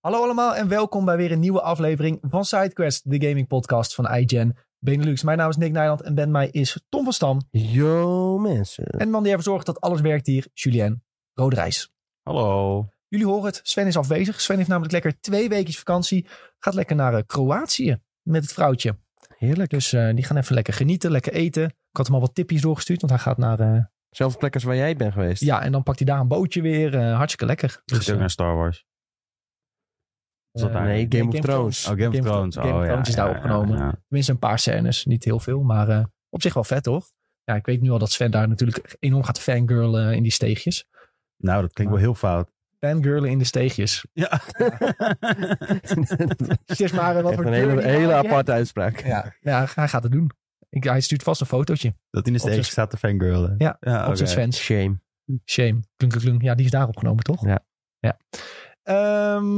Hallo allemaal en welkom bij weer een nieuwe aflevering van SideQuest, de gaming podcast van iGen Benelux. Mijn naam is Nick Nijland en bij mij is Tom van Stam. Yo mensen. En de man die ervoor zorgt dat alles werkt hier, Julien Roderijs. Hallo. Jullie horen het, Sven is afwezig. Sven heeft namelijk lekker twee weekjes vakantie. Gaat lekker naar eh, Kroatië met het vrouwtje. Heerlijk. Dus eh, die gaan even lekker genieten, lekker eten. Ik had hem al wat tipjes doorgestuurd, want hij gaat naar... eh, Zelfde plek als waar jij bent geweest. ja, en dan pakt hij daar een bootje weer. eh, hartstikke lekker. Gaat ook eh, naar Star Wars. Is dat eh, daar? Nee, Game, of Thrones. Oh, Game of Thrones. Game Oh, of ja, Thrones is daar ja, ja, opgenomen. ja. Tenminste, een paar scènes. Niet heel veel, maar eh, op zich wel vet, toch? Ja, ik weet nu al dat Sven daar natuurlijk enorm gaat fangirlen in die steegjes. Nou, dat klinkt wel heel fout. Fangirlen in de steegjes. Ja. Het is maar eh, wat Echt voor een kleur hele, die hele haar hebt. aparte uitspraak. Ja, ja, hij gaat het doen. Ik, hij stuurt vast een fotootje dat hij in de Op steek z'n- staat te fangirlen. Ja, ja op zijn oké. Svens. Shame. Shame. Klunk, klunk, klunk. Ja, die is daar opgenomen, toch? Ja. ja. Ehm,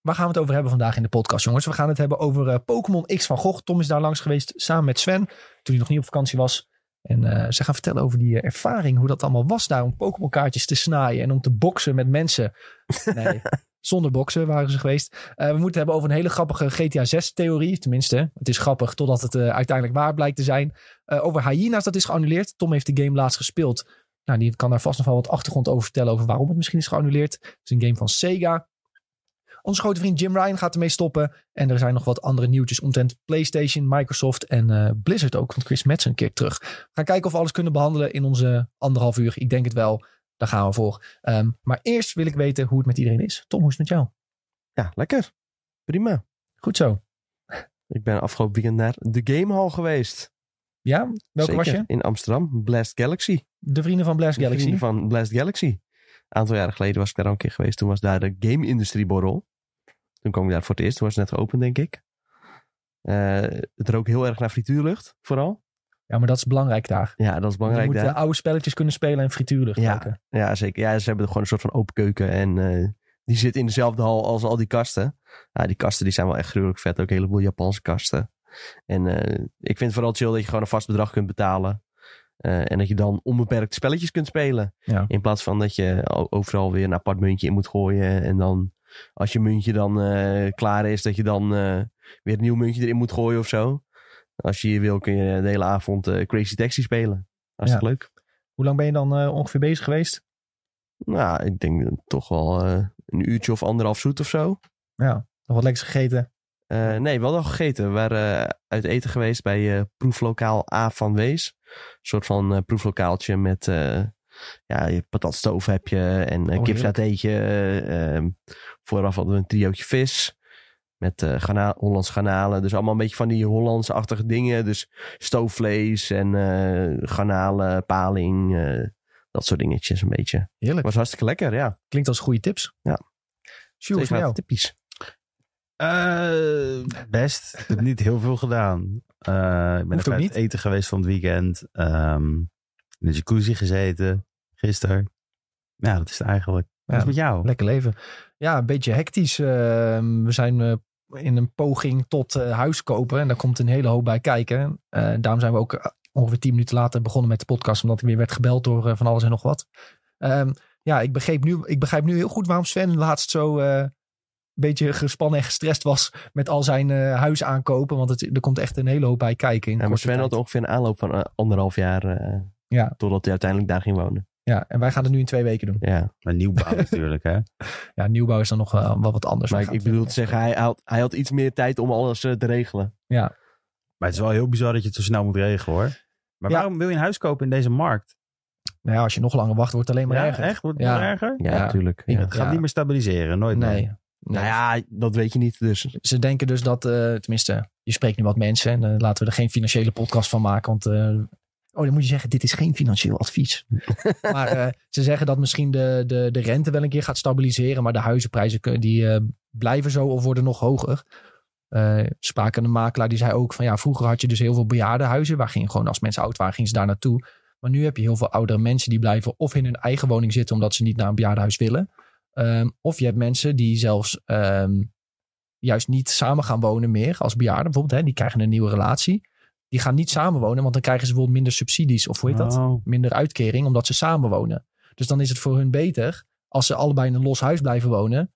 waar gaan we het over hebben vandaag in de podcast, jongens? We gaan het hebben over eh, Pokémon X van Gogh. Tom is daar langs geweest samen met Sven, toen hij nog niet op vakantie was. En eh, ze gaan vertellen over die eh, ervaring, hoe dat allemaal was daar om Pokémon kaartjes te snaaien en om te boksen met mensen. Nee, zonder boksen waren ze geweest. Eh, we moeten het hebben over een hele grappige GTA 6 theorie, tenminste. Het is grappig totdat het eh, uiteindelijk waar blijkt te zijn. Eh, over hyena's, dat is geannuleerd. Tom heeft de game laatst gespeeld. Nou, die kan daar vast nog wel wat achtergrond over vertellen. Over waarom het misschien is geannuleerd. Het is een game van Sega. Onze grote vriend Jim Ryan gaat ermee stoppen. En er zijn nog wat andere nieuwtjes omtrent PlayStation, Microsoft en eh, Blizzard ook. Want Chris Madsen keert terug. We gaan kijken of we alles kunnen behandelen in onze anderhalf uur. Ik denk het wel. Daar gaan we voor. Ehm, maar eerst wil ik weten hoe het met iedereen is. Tom, hoe is het met jou? Ja, lekker. Prima. Goed zo. Ik ben afgelopen weekend naar de Game Hall geweest. Ja, welke Zeker. was je? In Amsterdam. Blast Galaxy. De vrienden van Blast De Galaxy. vrienden van Blast Galaxy. Een aantal jaren geleden was ik daar al een keer geweest. Toen was daar de Game Industrie Borrel. Toen kwam ik daar voor het eerst. Toen was het net geopend, denk ik. Eh, het rook heel erg naar frituurlucht, vooral. Ja, maar dat is belangrijk daar. Ja, dat is Je belangrijk moet daar. eh, oude spelletjes kunnen spelen en frituurlucht Ja. ruiken. Ja, zeker. Ja, ze hebben gewoon een soort van open keuken. En eh, die zit in dezelfde hal als al die kasten. Ja, die kasten die zijn wel echt gruwelijk vet. Ook een heleboel Japanse kasten. En eh, ik vind het vooral chill dat je gewoon een vast bedrag kunt betalen. Eh, en dat je dan onbeperkt spelletjes kunt spelen. Ja. In plaats van dat je o- overal weer een apart muntje in moet gooien. En dan als je muntje dan eh, klaar is, dat je dan eh, weer een nieuw muntje erin moet gooien of zo. Als je hier wil kun je de hele avond eh, Crazy Taxi spelen. Hartstikke leuk. Hoe lang ben je dan eh, ongeveer bezig geweest? Nou, ik denk dat het toch wel eh, een uurtje of anderhalf zoet of zo. Nog wat lekkers gegeten? Eh, nee, wel al gegeten. We waren eh, uit eten geweest bij eh, proeflokaal A van Wees. Een soort van eh, proeflokaaltje met eh ja, je patatstoof heb je en eh Oh, kipsatéetje. eh, ehm, vooraf hadden we een triootje vis met eh gana Hollands garnalen. Dus allemaal een beetje van die Hollands-achtige dingen. Dus stoofvlees en eh garnalen, paling, eh, dat soort dingetjes een beetje. Heerlijk. Was hartstikke lekker, ja. Klinkt als goede tips. Ja. Sjoerd, voor jou. typisch. Eh, best. Ik heb niet heel veel gedaan. Eh, ik ben Hoeft even ook uit niet. eten geweest van het weekend. Ehm, in de jacuzzi gezeten. Gisteren. Ja, dat is het eigenlijk. Ja, Wat is het met jou? Lekker leven. Ja, een beetje hectisch. Ehm, we zijn eh, in een poging tot eh, huis kopen. En daar komt een hele hoop bij kijken. Eh, daarom zijn we ook eh, ongeveer tien minuten later begonnen met de podcast. Omdat ik weer werd gebeld door eh, van alles en nog wat. Ehm, ja, ik, begreep nu, ik begrijp nu heel goed waarom Sven laatst zo... eh, een beetje gespannen en gestrest was met al zijn eh, huis aankopen. Want het, er komt echt een hele hoop bij kijken. In Ja, maar korte Sven tijd. had ongeveer een aanloop van eh, anderhalf jaar. eh, Ja. Totdat hij uiteindelijk daar ging wonen. Ja, en wij gaan het nu in twee weken doen. Ja. Een nieuwbouw natuurlijk, hè? Ja, nieuwbouw is dan nog wel wat, wat anders. Maar We ik, gaan ik het- bedoel te zeggen, hij had, hij had iets meer tijd om alles eh, te regelen. Maar het is wel heel bizar dat je het zo snel moet regelen, hoor. Maar Ja. waarom wil je een huis kopen in deze markt? Nou ja, als je nog langer wacht, wordt het alleen maar ja, erger. echt? Wordt het Ja. nog erger? Ja, Ja. natuurlijk. Ja. Het gaat Ja. niet meer stabiliseren, nooit meer. Nee. Nou Nee. ja, dat weet je niet. Dus Ze denken dus dat, eh, tenminste, je spreekt nu wat mensen. En eh, laten we er geen financiële podcast van maken. Want, eh, oh, dan moet je zeggen, dit is geen financieel advies. maar eh, ze zeggen dat misschien de, de, de rente wel een keer gaat stabiliseren. Maar de huizenprijzen kun- die, eh, blijven zo of worden nog hoger. Eh spraken een makelaar die zei ook van ja, vroeger had je dus heel veel bejaardenhuizen. Waar gingen gewoon als mensen oud waren, gingen ze daar naartoe. Maar nu heb je heel veel oudere mensen die blijven of in hun eigen woning zitten omdat ze niet naar een bejaardenhuis willen. Ehm, of je hebt mensen die zelfs ehm, juist niet samen gaan wonen meer als bejaarden bijvoorbeeld. Hè, die krijgen een nieuwe relatie. Die gaan niet samenwonen, want dan krijgen ze bijvoorbeeld minder subsidies of hoe heet dat? Oh. minder uitkering omdat ze samen wonen. Dus dan is het voor hun beter als ze allebei in een los huis blijven wonen.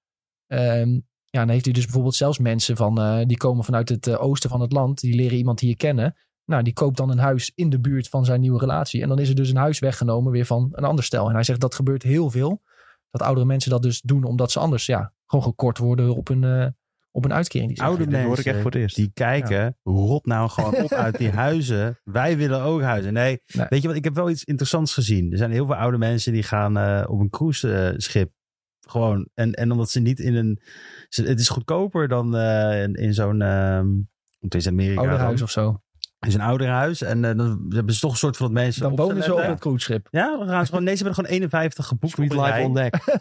ehm, Ja, dan heeft hij dus bijvoorbeeld zelfs mensen van, eh, die komen vanuit het eh, oosten van het land. Die leren iemand hier kennen. Nou, die koopt dan een huis in de buurt van zijn nieuwe relatie. En dan is er dus een huis weggenomen weer van een ander stel. En hij zegt dat gebeurt heel veel. Dat oudere mensen dat dus doen omdat ze anders ja, gewoon gekort worden op een, eh, op een uitkering. Die ze Oude Dit hoor ik mensen echt voor het eerst. Die kijken, rot nou gewoon op uit die huizen. Wij willen ook huizen. Nee, Nee. weet je wat? Ik heb wel iets interessants gezien. Er zijn heel veel oude mensen die gaan eh, op een cruiseschip. Gewoon. En, en omdat ze niet in een... ze- het is goedkoper dan eh, in, in zo'n... ehm, het is Amerika. ouder dan. huis of zo. Het is een ouderhuis. En eh, dan hebben ze toch een soort van dat mensen... Dan op wonen te ze op letten. het cruiseschip. Ja, dan gaan ze gewoon... Nee, ze hebben gewoon 51 geboekt. Street op een life rij. on deck.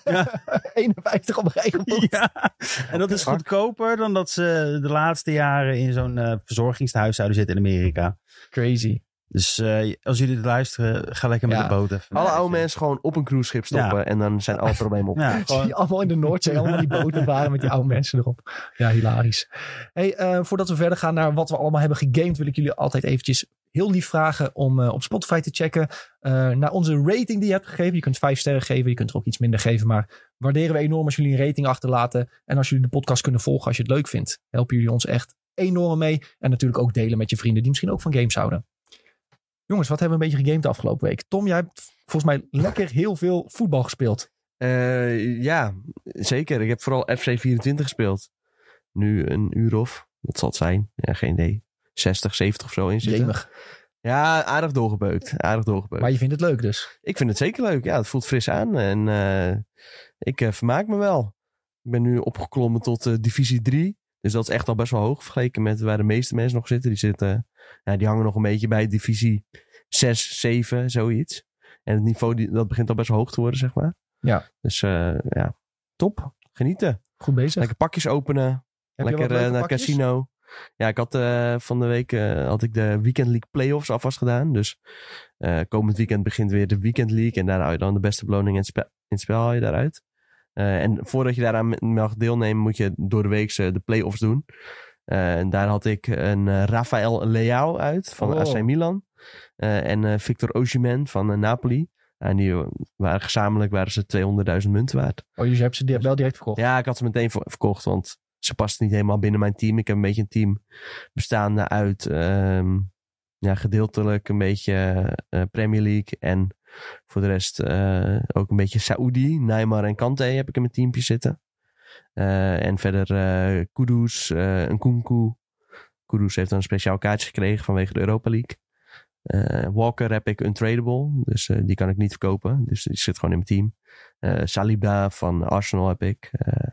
51 op een rij geboekt. Ja, en dat is fuck. goedkoper dan dat ze de laatste jaren in zo'n eh, verzorgingstehuis zouden zitten in Amerika. Crazy. Dus eh, als jullie dit luisteren, ga lekker met Ja. de boot even. Alle oude mensen gewoon op een cruiseschip stoppen en dan zijn alle problemen op. Ja, Zie gewoon, je allemaal in de Noordzee, allemaal die boten waren met die oude mensen erop. Ja, hilarisch. Hey, eh, voordat we verder gaan naar wat we allemaal hebben gegamed, wil ik jullie altijd eventjes heel lief vragen om eh, op Spotify te checken. eh, naar onze rating die je hebt gegeven. Je kunt vijf sterren geven, je kunt er ook iets minder geven. Maar waarderen we enorm als jullie een rating achterlaten. En als jullie de podcast kunnen volgen als je het leuk vindt. Helpen jullie ons echt enorm mee. En natuurlijk ook delen met je vrienden die misschien ook van games houden. Jongens, wat hebben we een beetje gegamed de afgelopen week? Tom, jij hebt volgens mij lekker heel veel voetbal gespeeld. Eh, ja, zeker. Ik heb vooral FC 24 gespeeld. Nu een uur of, wat zal het zijn? Ja, geen idee. 60, 70 of zo in zitten. Jemig. Ja, aardig doorgebeukt. Aardig doorgebeukt. Maar je vindt het leuk dus. Ik vind het zeker leuk. Ja, het voelt fris aan. En eh, ik eh, vermaak me wel. Ik ben nu opgeklommen tot eh, divisie 3. Dus dat is echt al best wel hoog vergeleken met waar de meeste mensen nog zitten. Die, zitten, ja, die hangen nog een beetje bij divisie 6, 7, zoiets. En het niveau die, dat begint al best wel hoog te worden, zeg maar. Ja. Dus eh, ja, top. Genieten. Goed bezig. Lekker pakjes openen. Heb je wat lekker eh, leuke naar pakjes? casino. Ja, ik had eh, van de week eh, had ik de Weekend League Playoffs alvast gedaan. Dus eh, komend weekend begint weer de Weekend League. En daar hou je dan de beste beloning in het, spe- in het spel haal je daaruit. Eh, en voordat je daaraan mag deelnemen, moet je door de week eh, de playoffs doen. Eh, en daar had ik een eh, Rafael Leao uit van Oh. AC Milan. Eh, en eh, Victor Osimhen van eh, Napoli. En die eh, waren gezamenlijk waren ze 200.000 munt waard. Oh, dus je hebt ze di- wel direct verkocht. Ja, ik had ze meteen ver- verkocht, want ze past niet helemaal binnen mijn team. Ik heb een beetje een team bestaande uit ehm, ja, gedeeltelijk een beetje eh, Premier League en voor de rest eh, ook een beetje Saoedi. Neymar en Kante heb ik in mijn teampje zitten. Eh, en verder eh Kudus, eh een Kunku. Kudus heeft dan een speciaal kaartje gekregen vanwege de Europa League. Eh, Walker heb ik untradable, dus eh, die kan ik niet verkopen. Dus die zit gewoon in mijn team. Eh, Saliba van Arsenal heb ik. Eh,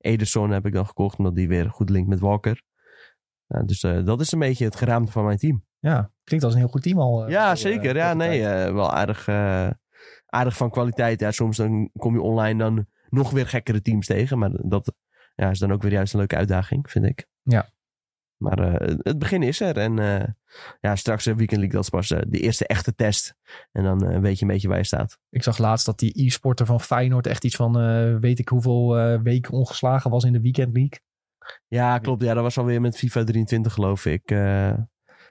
Ederson heb ik dan gekocht, omdat die weer goed linkt met Walker. Nou, dus eh, dat is een beetje het geraamte van mijn team. Ja, Klinkt als een heel goed team al. eh, ja, voor, eh, zeker. Ja, korte nee, tijd. eh, wel aardig, eh, aardig van kwaliteit. Ja, soms dan kom je online dan nog weer gekkere teams tegen. Maar dat ja, is dan ook weer juist een leuke uitdaging, vind ik. Ja. Maar eh, het begin is er. En eh, ja, straks de Weekend League, dat is pas eh, de eerste echte test. En dan eh, weet je een beetje waar je staat. Ik zag laatst dat die e-sporter van Feyenoord echt iets van eh, weet ik hoeveel eh, weken ongeslagen was in de Weekend League. Ja, klopt. Ja, dat was alweer met FIFA 23, geloof ik. Eh,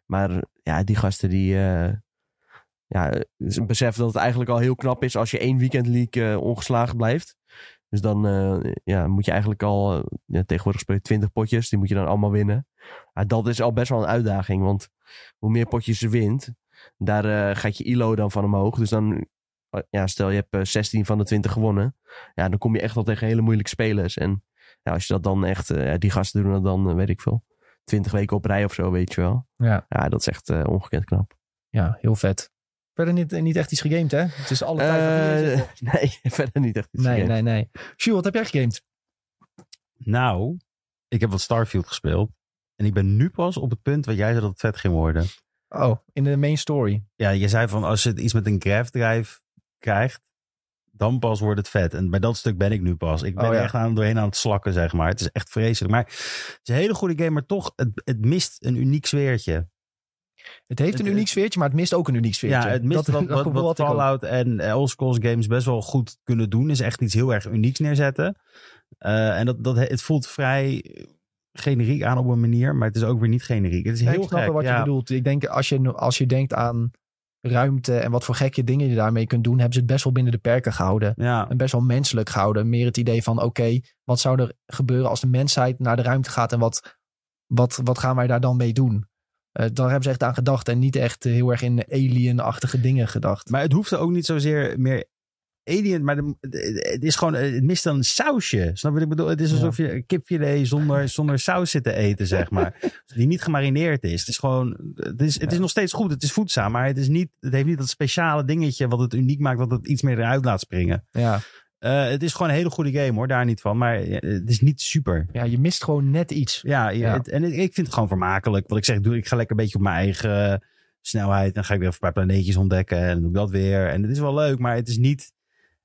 maar ja, die gasten die. eh, ja, ze beseffen dat het eigenlijk al heel knap is als je één weekend league eh, ongeslagen blijft. Dus dan eh, ja, moet je eigenlijk al. eh, ja, tegenwoordig speel je 20 potjes, die moet je dan allemaal winnen. Maar dat is al best wel een uitdaging, want hoe meer potjes je wint, daar eh, gaat je ILO dan van omhoog. Dus dan. eh, Ja, stel je hebt eh, 16 van de 20 gewonnen. Ja, dan kom je echt al tegen hele moeilijke spelers. En ja, als je dat dan echt, eh, ja, die gasten doen dat dan, eh, weet ik veel, twintig weken op rij of zo, weet je wel. Ja. Ja, dat is echt eh, ongekend knap. Ja, heel vet. Verder niet, eh, niet echt iets gegamed, hè? Het is alle tijd. wat Eh, hier zit. nee, verder niet echt. iets nee, gegeven. nee, nee. Sjoerd, wat heb jij gegamed? nou, ik heb wat Starfield gespeeld. En ik ben nu pas op het punt waar jij zei dat het vet ging worden. Oh, in de main story. Ja, je zei van als je het iets met een graph drive krijgt, dan pas wordt het vet. En bij dat stuk ben ik nu pas. Ik ben Oh ja. er echt aan doorheen aan het slakken, zeg maar. Het is echt vreselijk. Maar het is een hele goede game, maar toch, het, het mist een uniek sfeertje. Het heeft een Het- uniek sfeertje, maar het mist ook een uniek sfeertje. Ja, het mist dat, wat, dat wat, komt wat, wel ik ook. Fallout en eh, Elder Scrolls games best wel goed kunnen doen. Is echt iets heel erg unieks neerzetten. Eh, en dat, dat, het voelt vrij generiek aan op een manier, maar het is ook weer niet generiek. Het is Ja, heel ik snap gek, wel wat ja. je bedoelt. Ik denk, als je, als je denkt aan ruimte en wat voor gekke dingen je daarmee kunt doen, hebben ze het best wel binnen de perken gehouden. Ja, En best wel menselijk gehouden. Meer het idee van, oké, wat zou er gebeuren als de mensheid naar de ruimte gaat en wat, wat, wat gaan wij daar dan mee doen? Eh, daar hebben ze echt aan gedacht en niet echt eh, heel erg in alien-achtige dingen gedacht. maar het hoeft ook niet zozeer meer alien, maar de- de- het is gewoon, het mist dan een sausje. Snap je wat ik bedoel? Het is Ja. alsof je een kipfilet zonder, zonder saus zit te eten, zeg maar. Die niet gemarineerd is. Het is gewoon, het is, het is nog steeds goed, het is voedzaam, maar het, is niet, het heeft niet dat speciale dingetje wat het uniek maakt, dat het iets meer eruit laat springen. Ja. Eh, het is gewoon een hele goede game hoor, daar niet van, maar eh, het is niet super. ja, je mist gewoon net iets. Ja, ja, Ja. het- en ik ik vind het gewoon vermakelijk. Wat ik zeg, doe, ik ga lekker een beetje op mijn eigen eh, snelheid. Dan ga ik weer een paar planeetjes ontdekken. En dan doe ik dat weer. En het is wel leuk, maar het is niet.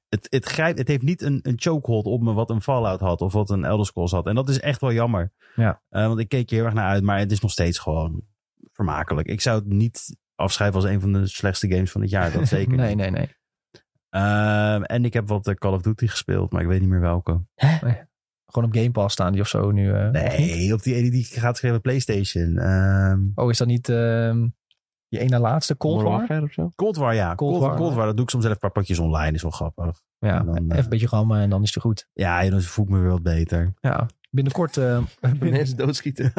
Het, het, grijpt, het heeft niet een, een chokehold op me wat een Fallout had. Of wat een Elder Scrolls had. En dat is echt wel jammer. Ja. Eh, want ik keek er heel erg naar uit. Maar het is nog steeds gewoon vermakelijk. Ik zou het niet afschrijven als een van de slechtste games van het jaar. Dat zeker Nee, niet. nee, nee. Ehm, en ik heb wat eh, Call of Duty gespeeld. Maar ik weet niet meer welke. Gewoon op Game Pass staan die of zo nu. eh. Nee, op die ene die ik gaat schrijven Playstation. Ehm Oh, is dat niet ehm je ene laatste Cold War? of zo? Cold War, ja. Cold Cold, War, War. Cold War, dat doe ik soms zelf een paar potjes online. Is wel grappig. Ja, En dan, eh, even een beetje rammen en dan is het goed. Ja, dan voel ik me weer wat beter. Ja. Binnenkort, eh binnen, Mensen doodschieten.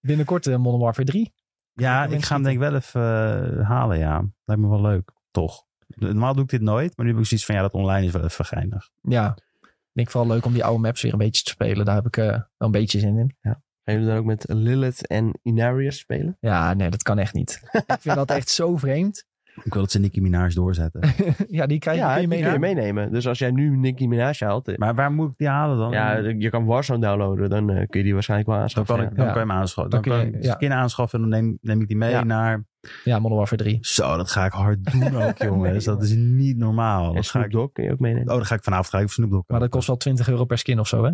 binnenkort eh, Modern Warfare 3. ja, mensen ik ga hem denk ik wel even eh, halen, ja. Lijkt me wel leuk, toch? Normaal doe ik dit nooit, maar nu heb ik zoiets van, ja, dat online is wel even geinig. Ja. Ik denk vooral leuk om die oude maps weer een beetje te spelen. Daar heb ik eh, wel een beetje zin in. Gaan jullie dan ook met Lilith en Inarius spelen? Ja, nee, dat kan echt niet. ik vind dat echt zo vreemd. Ik wil dat ze Nicki Minaj doorzetten. Ja, die krijg je die kun mee. je meenemen. Dus als jij nu Nicki Minaj haalt, eh, Maar waar moet ik die halen dan? ja, je kan Warzone downloaden, dan eh, kun je die waarschijnlijk wel dan aanschaffen. kan ik, dan Ja. kan je hem aanschaffen. Dan Dan, kun kan je- ik ja. skin aanschaffen en dan neem, neem ik die mee Ja. naar... Ja, Modern Warfare 3. Zo, dat ga ik hard doen ook, jongens. dat jongen. is niet normaal. ja. En Dat ga Snoop ik, oh, Dogg kun je ook meenemen. dan ga ik vanavond ga ik even Snoop Dogg Maar dat kopen. kost wel 20 euro per skin of zo, hè?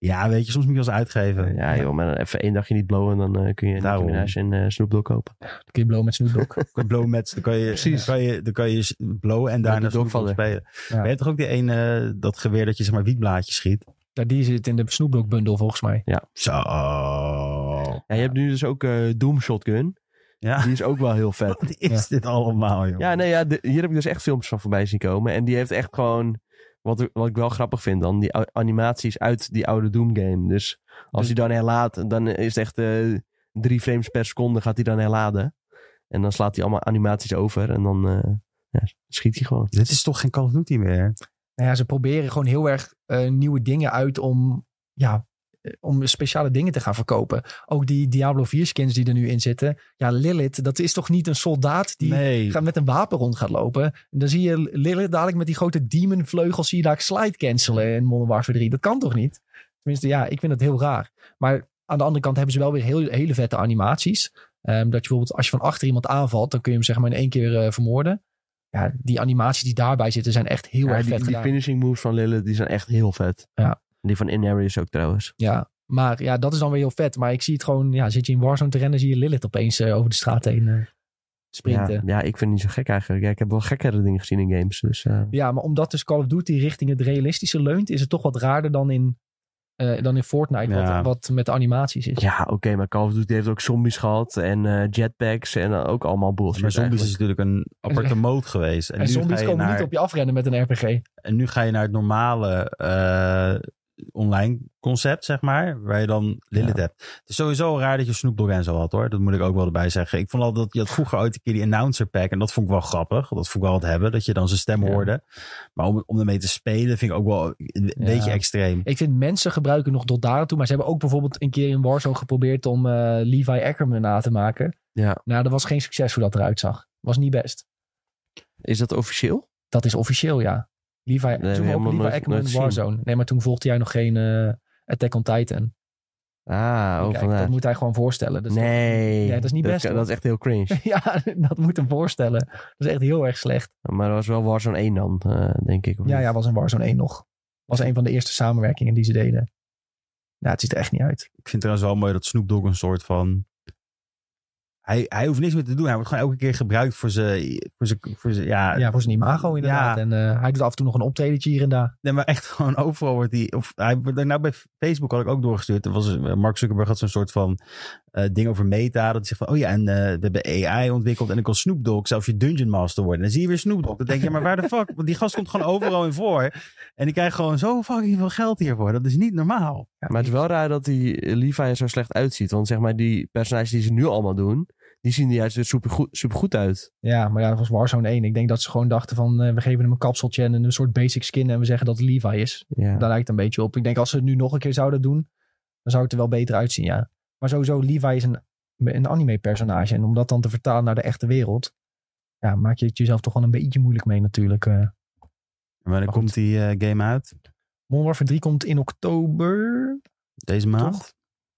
Ja, weet je, soms moet je als uitgeven. Ja joh, maar dan even één dagje niet blowen, dan eh, kun je Nicki Daarom. Minaj en eh Snoop Dogg kopen. Dan kun je blow met Snoop Dogg. Kan blow match, dan kan je, Precies. Dan kan je, dan kan je s- blowen en daarna die Snoop Dogg dogvaller. spelen. Ja. Maar je hebt toch ook die ene, eh, dat geweer dat je zeg maar wietblaadjes schiet? ja, die zit in de Snoop Dogg bundel volgens mij. Zo. Ja, je hebt nu dus ook eh, Doom Shotgun. Ja. Die is ook wel heel vet. Wat is dit allemaal, joh? Ja, nee, ja, de- hier heb ik dus echt filmpjes van voorbij zien komen. En die heeft echt gewoon, wat, wat ik wel grappig vind dan, die ou- animaties uit die oude Doom game. Dus Dus- als hij dan herlaat, dan is het echt eh, drie frames per seconde gaat hij dan herladen. En dan slaat hij allemaal animaties over en dan eh, ja, schiet hij gewoon. Dit is toch geen Call of Duty meer? Nou ja, ze proberen gewoon heel erg eh, nieuwe dingen uit om, ja, eh, om speciale dingen te gaan verkopen. Ook die Diablo 4 skins die er nu in zitten. Ja, Lilith, dat is toch niet een soldaat die nee. gaat met een wapen rond gaat lopen. En dan zie je Lilith dadelijk met die grote demonvleugels, zie je daar slide cancelen in Modern Warfare 3. Dat kan toch niet? Tenminste, ja, ik vind dat heel raar. Maar aan de andere kant hebben ze wel weer heel, hele vette animaties. Ehm, dat je bijvoorbeeld als je van achter iemand aanvalt, dan kun je hem zeg maar in één keer eh, vermoorden. Ja, die animaties die daarbij zitten zijn echt heel Ja, erg die, vet die gedaan. finishing moves van Lilith, die zijn echt heel vet. Ja. Die van Inarius ook trouwens. Ja, maar ja, dat is dan weer heel vet. Maar ik zie het gewoon, ja, zit je in Warzone te rennen, zie je Lilith opeens eh, over de straat heen eh, sprinten. Ja, ja, ik vind het niet zo gek eigenlijk. Ja, ik heb wel gekkere dingen gezien in games. Dus, eh, Ja, maar omdat dus Call of Duty richting het realistische leunt, is het toch wat raarder dan in, eh, dan in Fortnite, Ja. wat, wat met de animaties is. Ja, oké, maar Call of Duty heeft ook zombies gehad en eh, jetpacks en eh, ook allemaal bullshit. Maar zombies is eigenlijk. natuurlijk een aparte mode geweest. En, en nu zombies ga je komen naar, niet op je afrennen met een RPG. En nu ga je naar het normale eh, online concept, zeg maar. Waar je dan Lilith hebt. Het is sowieso raar dat je Snoop Dogg en zo had, hoor. Dat moet ik ook wel erbij zeggen. Ik vond al dat je had vroeger ooit een keer die announcer pack. En dat vond ik wel grappig. Dat vond ik wel wat hebben. Dat je dan zijn stem Ja. hoorde. Maar om, om ermee te spelen vind ik ook wel een beetje extreem. Ik vind mensen gebruiken nog tot daar toe, maar ze hebben ook bijvoorbeeld een keer in Warzone geprobeerd om eh, Levi Ackerman na te maken. Ja. Nou, dat was geen succes hoe dat eruit zag. Was niet best. Is dat officieel? Dat is officieel, ja. Levi, hebben zoek maar op helemaal Levi nooit- Ackerman nooit Warzone. Nee, maar toen volgde jij nog geen eh, Attack on Titan. Ah, oh, Kijk, vandaar. dat moet hij gewoon voorstellen. Dus nee. Nee, dat is niet best, kan- hoor. Dat, is echt heel cringe. ja, dat moet hem voorstellen. Dat is echt heel erg slecht. maar dat was wel Warzone 1 dan, eh, denk ik. of Ja, niet? ja, was in Warzone 1 nog. Was een van de eerste samenwerkingen die ze deden. Nou, het ziet er echt niet uit. Ik vind trouwens wel mooi dat Snoop Dogg een soort van... Hij, hij hoeft niks meer te doen. Hij wordt gewoon elke keer gebruikt voor zijn... Voor zijn, voor zijn ja, Ja, voor zijn imago inderdaad. Ja. En eh, hij doet af en toe nog een optredentje hier en daar. Nee, maar echt gewoon overal wordt die... Of, hij, wordt- nou, bij Facebook had ik ook doorgestuurd. Er was, eh, Mark Zuckerberg had zo'n soort van eh, ding over meta. Dat hij zegt van, oh ja, en eh, we hebben AI ontwikkeld. En dan kan Snoop Dogg zelfs je Dungeon Master worden. En dan zie je weer Snoop Dogg. Dan denk je, maar waar de fuck? Want die gast komt gewoon overal in voor. En die krijgt gewoon zo fucking veel geld hiervoor. Dat is niet normaal. Ja, Maar het is wel raar dat die eh, Levi er zo slecht uitziet. Want zeg maar, die personages die ze nu allemaal doen, die zien er juist weer supergoed, supergoed uit. Ja, maar ja, dat was Warzone 1. Ik denk dat ze gewoon dachten van, eh, we geven hem een kapseltje en een soort basic skin en we zeggen dat het Levi is. Ja. Daar lijkt het een beetje op. Ik denk als ze het nu nog een keer zouden doen, dan zou het er wel beter uitzien, ja. Maar sowieso, Levi is een, een anime-personage. En om dat dan te vertalen naar de echte wereld, ja, maak je het jezelf toch wel een beetje moeilijk mee natuurlijk. eh. En wanneer Maar komt die eh, game uit? Modern Warfare 3 komt in oktober. Deze maand? Toch?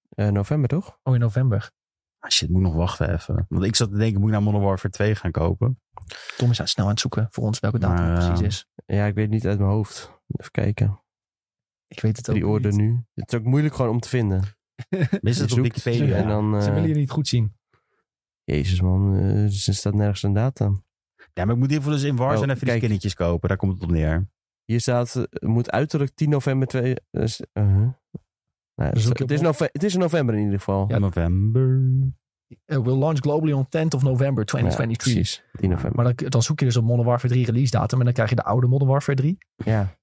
Eh, november toch? Oh, in november. Ah shit, moet nog wachten even. Want ik zat te denken, moet ik nou Modern Warfare 2 gaan kopen? Tom is aan snel aan het zoeken voor ons welke datum Maar, het precies eh, is. Ja, ik weet het niet uit mijn hoofd. Even kijken. Ik weet het ook Die order niet. nu. Het is ook moeilijk gewoon om te vinden. Is Je het op zoekt, Wikipedia? En dan, eh, Ze willen jullie niet goed zien. Jezus man, eh, er staat nergens een datum. Ja, maar ik moet in ieder geval dus in Warzone Oh, even kijk. die skinnetjes kopen. Daar komt het op neer. Hier staat, eh, moet uiterlijk 10 november... Twee, eh, s- uh-huh. Nou, het, is- Zoek je het is op- nove- het is in november in ieder geval. Ja, November. Eh, will launch globally on 10th of November 2023. precies. 10 november. maar dan, dan zoek je dus op Modern Warfare 3 release datum. En dan krijg je de oude Modern Warfare 3. Ja.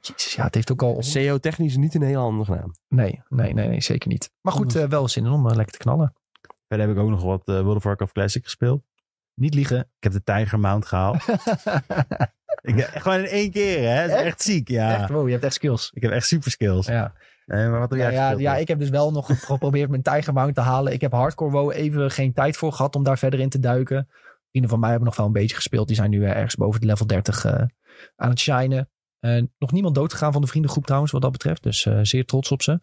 Jezus, ja, het heeft ook al... CO technisch niet een hele handige naam. Nee, nee, nee, nee zeker niet. Maar goed, eh, wel zin in om eh, lekker te knallen. Verder heb ik ook nog wat eh, World of Warcraft Classic gespeeld. Niet liegen. Ik heb de Tiger Mount gehaald. ik, heb- gewoon in één keer, hè? Het is Echt? echt ziek, ja. Echt, wow, je hebt echt skills. Ik heb echt super skills. Ja, Eh, maar wat doe ja, jij ja, gespeeld, ja, Bas? ik heb dus wel nog geprobeerd mijn Tiger Mount te halen. Ik heb Hardcore WoW even geen tijd voor gehad om daar verder in te duiken. Vrienden van mij hebben nog wel een beetje gespeeld. Die zijn nu eh, ergens boven de level 30 eh, aan het shinen. Eh, nog niemand doodgegaan van de vriendengroep trouwens wat dat betreft. Dus eh, zeer trots op ze.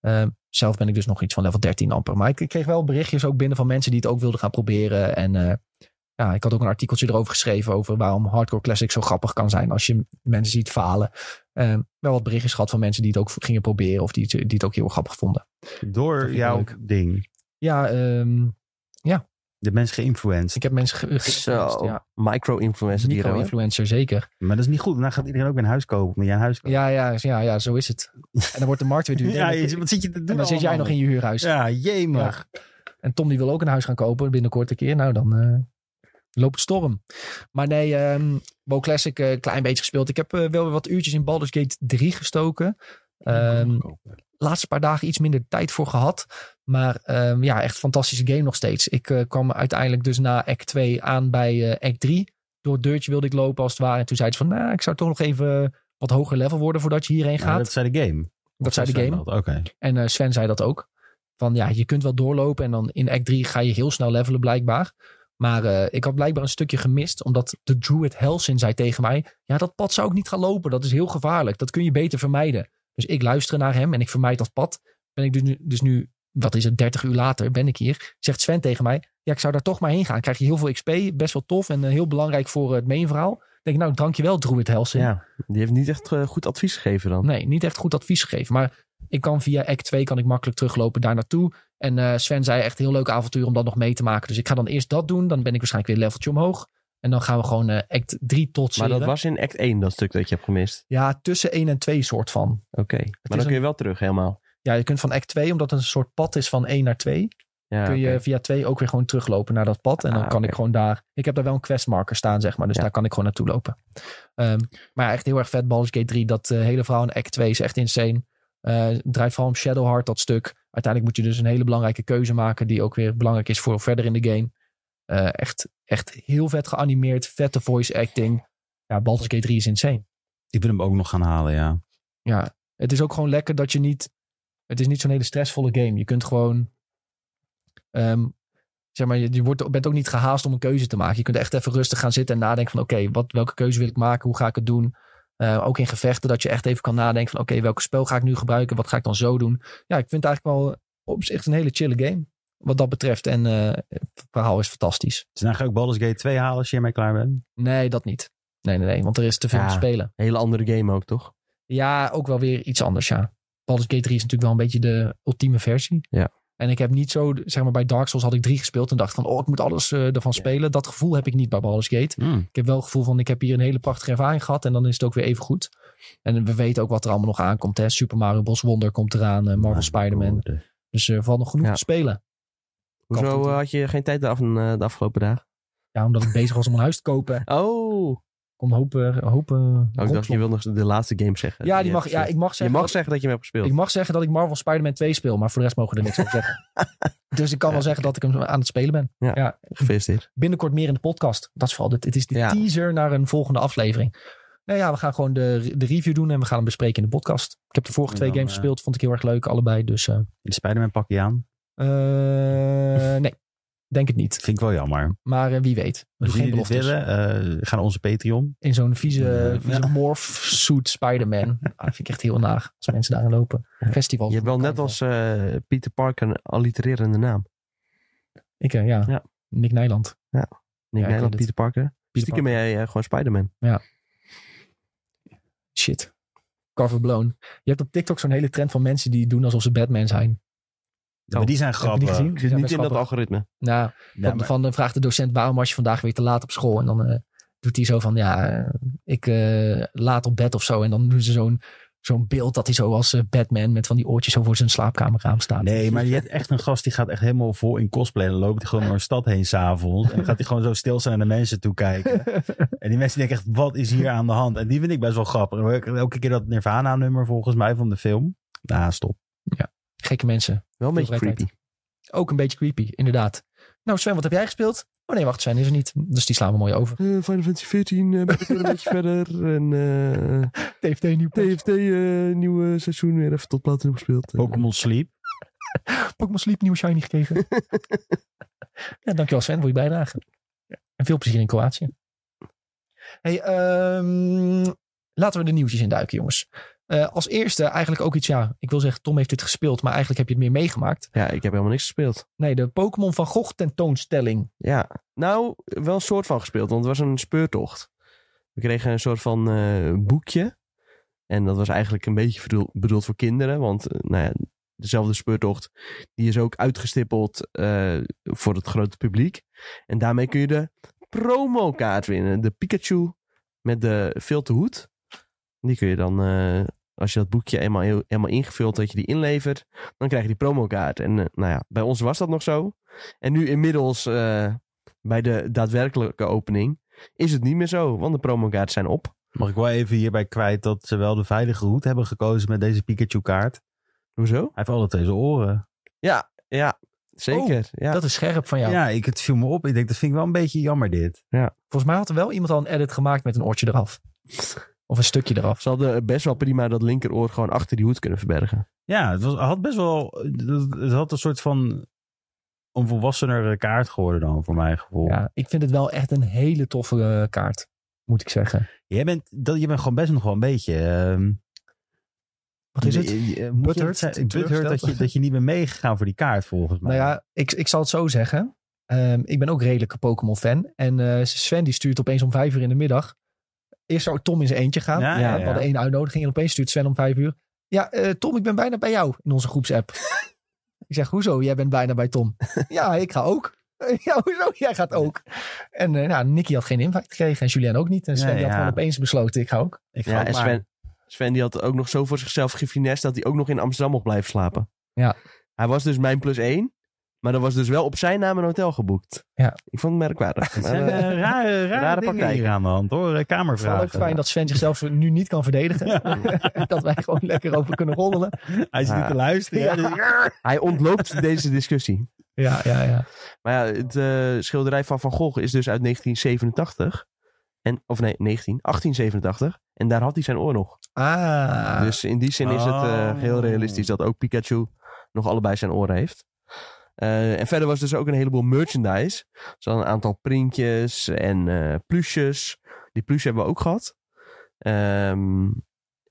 Eh, zelf ben ik dus nog iets van level 13 amper. Maar ik, ik kreeg wel berichtjes ook binnen van mensen die het ook wilden gaan proberen. En eh, ja, ik had ook een artikeltje erover geschreven over waarom Hardcore Classic zo grappig kan zijn als je mensen ziet falen. Eh, wel wat berichtjes gehad van mensen die het ook gingen proberen of die, het- die het ook heel erg grappig vonden. Door vind ik jouw leuk. ding. Ja, ehm, De mensen geïnfluenced. ik heb mensen ge- geïnfluenced, Zo, ja. micro-influencer die er Micro-influencer, zeker. Maar dat is niet goed. Dan gaat iedereen ook een huis kopen. Omdat jij een huis koopt. Ja, ja, ja, ja, zo is het. En dan wordt de markt weer duurder. Ja, en je- wat zit je te doen dan zit jij nog in je huurhuis. Ja, jemig. En Tom die wil ook een huis gaan kopen binnenkort een keer. Nou, dan eh, loopt het storm. Maar nee, ehm WoW Classic een klein beetje gespeeld. Ik heb eh, wel weer wat uurtjes in Baldur's Gate 3 gestoken. Ehm laatste paar dagen iets minder tijd voor gehad. Maar ehm, ja, echt fantastische game nog steeds. Ik eh, kwam uiteindelijk dus na act 2 aan bij eh, act 3. Door het deurtje wilde ik lopen als het ware. En toen zei ze van, nou, ik zou toch nog even wat hoger level worden voordat je hierheen Maar gaat. Nou, dat zei de game. dat Of zei de Sven game. dat? Oké. En eh, Sven zei dat ook. Van ja, je kunt wel doorlopen en dan in act 3 ga je heel snel levelen blijkbaar. Maar eh, ik had blijkbaar een stukje gemist, omdat de Druid Helsin zei tegen mij... Ja, dat pad zou ik niet gaan lopen. Dat is heel gevaarlijk. Dat kun je beter vermijden. Dus ik luister naar hem en ik vermijd dat pad. Ben ik dus nu, dus nu wat is het, 30 uur later ben ik hier. Zegt Sven tegen mij, ja, ik zou daar toch maar heen gaan. Krijg je heel veel XP, best wel tof en eh, heel belangrijk voor eh, het mainverhaal. Ik Denk ik, nou, dankjewel Druid Helsin. Ja, die heeft niet echt eh, goed advies gegeven dan. Nee, niet echt goed advies gegeven. Maar ik kan via act 2 kan ik makkelijk teruglopen daar naartoe. En eh, Sven zei echt heel leuk avontuur om dat nog mee te maken. Dus ik ga dan eerst dat doen. Dan ben ik waarschijnlijk weer een leveltje omhoog. En dan gaan we gewoon eh, act 3 tot maar dat was in act 1, dat stuk dat je hebt gemist. Ja, tussen 1 en 2 soort van. Oké, maar dan een- kun je wel terug helemaal. Ja, je kunt van act 2, omdat het een soort pad is van 1 naar 2... Ja, kun je oké. via 2 ook weer gewoon teruglopen naar dat pad. En dan Ah, kan oké. ik gewoon daar... Ik heb daar wel een questmarker staan, zeg maar. Dus Ja. daar kan ik gewoon naartoe lopen. Ehm, maar ja, echt heel erg vet. Baldur's Gate 3, dat eh, hele verhaal in Act 2 is echt insane. Eh, het draait vooral om Shadowheart, dat stuk. Uiteindelijk moet je dus een hele belangrijke keuze maken... die ook weer belangrijk is voor verder in de game. Eh, echt, echt heel vet geanimeerd. Vette voice acting. Ja, Baldur's Gate 3 is insane Ik wil hem ook nog gaan halen, ja. ja, het is ook gewoon lekker dat je niet. Het is niet zo'n hele stressvolle game. Je kunt gewoon. ehm, zeg maar, je, je wordt, bent ook niet gehaast om een keuze te maken. Je kunt echt even rustig gaan zitten en nadenken van: oké, wat welke keuze wil ik maken? Hoe ga ik het doen? Eh, ook in gevechten, dat je echt even kan nadenken van: oké, welke spel ga ik nu gebruiken? Wat ga ik dan zo doen? Ja, ik vind het eigenlijk wel op zich een hele chille game. Wat dat betreft. En eh, het verhaal is fantastisch. Dus dan ga ik ook Baldur's Gate 2 halen als je ermee klaar bent. Nee, dat niet. Nee, nee, nee, want er is te veel Ja. te spelen. Hele andere game ook, toch? Ja, ook wel weer iets anders, ja. Baldur's Gate 3 is natuurlijk wel een beetje de ultieme versie. Ja. En ik heb niet zo, zeg maar bij Dark Souls had ik drie gespeeld en dacht van, oh, ik moet alles eh, ervan spelen. Dat gevoel heb ik niet bij Baldur's Gate. Hmm. Ik heb wel het gevoel van, ik heb hier een hele prachtige ervaring gehad en dan is het ook weer even goed. En we weten ook wat er allemaal nog aankomt. Hè? Super Mario Bros. Wonder komt eraan, eh, Ah, Marvel Spider-Man. Dus er valt nog genoeg Ja. te spelen. Hoezo Kant- eh, had je geen tijd de, af, eh, de afgelopen dagen? Ja, omdat ik bezig was om een huis te kopen. Oh, oh, Kom hopen, hopen. ik dacht je wilde nog de laatste game zeggen. Ja, die je mag, hebt ja, gespeeld. ik mag zeggen. je mag dat- zeggen dat je hem hebt gespeeld. Ik mag zeggen dat ik Marvel Spider-Man 2 speel, maar voor de rest mogen we er niks over zeggen. Dus ik kan wel Ja. zeggen dat ik hem aan het spelen ben. Ja. Gefeliciteerd. Binnenkort meer in de podcast. Dat is vooral dit. Het is de Ja. teaser naar een volgende aflevering. Nou ja, we gaan gewoon de, de review doen en we gaan hem bespreken in de podcast. Ik heb de vorige En twee dan, games eh, gespeeld, vond ik heel erg leuk, allebei. Dus eh, De Spider-Man pak je aan. eh, nee, denk het niet. Vind ik wel jammer. Maar eh, wie weet. Doe Als geen jullie dit beloftes. willen, eh, ga naar onze Patreon. In zo'n vieze, Ja. vieze morph suit Spider-Man. Ah, dat vind ik echt heel naag als mensen daarin lopen. Festivals. Je hebt wel net carnaval. als eh, Peter Parker een allitererende naam. Ik, eh, ja. Ja. Nick Nijland. Nee, Ja, ik weet Nederland, het. Peter Parker. Peter Stiekem ben jij eh, gewoon Spider-Man. Shit. Cover blown. Je hebt op TikTok zo'n hele trend van mensen die doen alsof ze Batman zijn. Maar die zijn Oh, Heb je grappig. die gezien? Ik Die zit zijn niet best in dat grappig. algoritme. Nou, Ja, van, maar- van, eh, vraagt de docent waarom was je vandaag weer te laat op school? En dan eh, doet hij zo van, ja, eh, ik eh, laat op bed of zo. En dan doen ze zo'n zo'n beeld dat hij zo als eh, Batman met van die oortjes zo voor zijn slaapkamerraam staat. Nee, maar je hebt echt een gast die gaat echt helemaal vol in cosplay. En dan loopt hij gewoon door een stad heen s'avonds. En dan gaat hij gewoon zo stil zijn naar de mensen toe kijken. En die mensen denken echt, wat is hier aan de hand? En die vind ik best wel grappig. En elke- Elke keer dat Nirvana-nummer volgens mij van de film. Nou, stop. Gekke mensen. Wel een Veel beetje creepy. vrijheid. Ook een beetje creepy, inderdaad. Nou Sven, wat heb jij gespeeld? Oh nee, wacht, Sven is er niet. Dus die slaan we mooi over. Eh, Final Fantasy 14 eh, ben ik weer een beetje verder. En eh, TFT nieuw. TFT, eh, nieuwe seizoen, weer even tot platinum gespeeld. Eh, Pokémon Sleep. Pokémon Sleep nieuwe shiny gekregen. ja, dankjewel Sven voor je bijdrage. En veel plezier in Kroatië. Hey, ehm, laten we de nieuwtjes induiken, jongens. Eh, als eerste eigenlijk ook iets, ja, ik wil zeggen Tom heeft dit gespeeld, maar eigenlijk heb je het meer meegemaakt. Ja, ik heb helemaal niks gespeeld. Nee, de Pokémon van Gogh tentoonstelling. Ja, nou, wel een soort van gespeeld, want het was een speurtocht. We kregen een soort van eh, boekje. En dat was eigenlijk een beetje verdoel- bedoeld voor kinderen, want eh, nou ja, dezelfde speurtocht die is ook uitgestippeld eh, voor het grote publiek. En daarmee kun je de promokaart winnen. De Pikachu met de filter hoed. Die kun je dan, eh, als je dat boekje eenmaal, eenmaal ingevuld, dat je die inlevert, dan krijg je die promokaart. En eh, nou ja, bij ons was dat nog zo. En nu inmiddels eh, bij de daadwerkelijke opening is het niet meer zo, want de promokaarten zijn op. Mag ik wel even hierbij kwijt dat ze wel de veilige route hebben gekozen met deze Pikachu-kaart. Hij Hoezo? heeft altijd deze oren. Ja, zeker. ja. Oh, Dat is scherp van Ja, jou. ik, het viel me op. Ik denk, dat vind ik wel een beetje jammer dit. Volgens mij had er wel iemand al een edit gemaakt met een oortje eraf. Of een stukje eraf. Ze hadden best wel prima dat linkeroor gewoon achter die hoed kunnen verbergen. Ja, het, was, het had best wel... Het, het had een soort van een volwassenere kaart geworden dan, voor mijn gevoel. Ja, ik vind het wel echt een hele toffe eh, kaart, moet ik zeggen. Jij bent, dat, je bent gewoon best nog wel een beetje... ehm, Wat is het? je- je- moet je Butthurt? het zeggen? Butthurt dat je, Teleurgesteld? dat je niet bent meegegaan voor die kaart volgens mij. Nou ja, ik, ik zal het zo zeggen. Ehm, ik ben ook redelijke Pokémon-fan. En eh, Sven die stuurt opeens om vijf uur in de middag. Eerst zou Tom in zijn eentje gaan. Ja, Ja, ja, We ja. hadden één uitnodiging en opeens stuurt Sven om vijf uur. Ja, eh, Tom, ik ben bijna bij jou in onze groepsapp. ik zeg, hoezo? Jij bent bijna bij Tom. ja, ik ga ook. ja, hoezo? Jij gaat ook. En eh nou, Nicky had geen invite gekregen en Julien ook niet. En Sven Nee, die had ja. gewoon opeens besloten, ik ga ook. ik ga Ja, ook en maar- Sven, Sven die had ook nog zo voor zichzelf gefinest dat hij ook nog in Amsterdam mocht blijven slapen. Ja. Hij was dus mijn plus één, maar er was dus wel op zijn naam een hotel geboekt. Ja. Ik vond het merkwaardig. Het Maar, zijn eh, eh, rare, rare, Rare dingen praktijken. hier aan de hand hoor. Eh, Vooral Kamervragen. ook fijn dat Sven zichzelf nu niet kan verdedigen. dat wij gewoon lekker over kunnen roddelen. Hij zit niet te luisteren. hè, dus- hij ontloopt deze discussie. Ja, ja, ja. Maar ja, het eh, schilderij van Van Gogh is dus uit 1987. En, of nee, 19, 1887. En daar had hij zijn oor nog. Ah, Dus in die zin is het eh, Oh. heel realistisch dat ook Pikachu nog allebei zijn oren heeft. Eh, en verder was dus ook een heleboel merchandise. Dus dan een aantal printjes en eh plusjes. Die plush hebben we ook gehad. Ehm,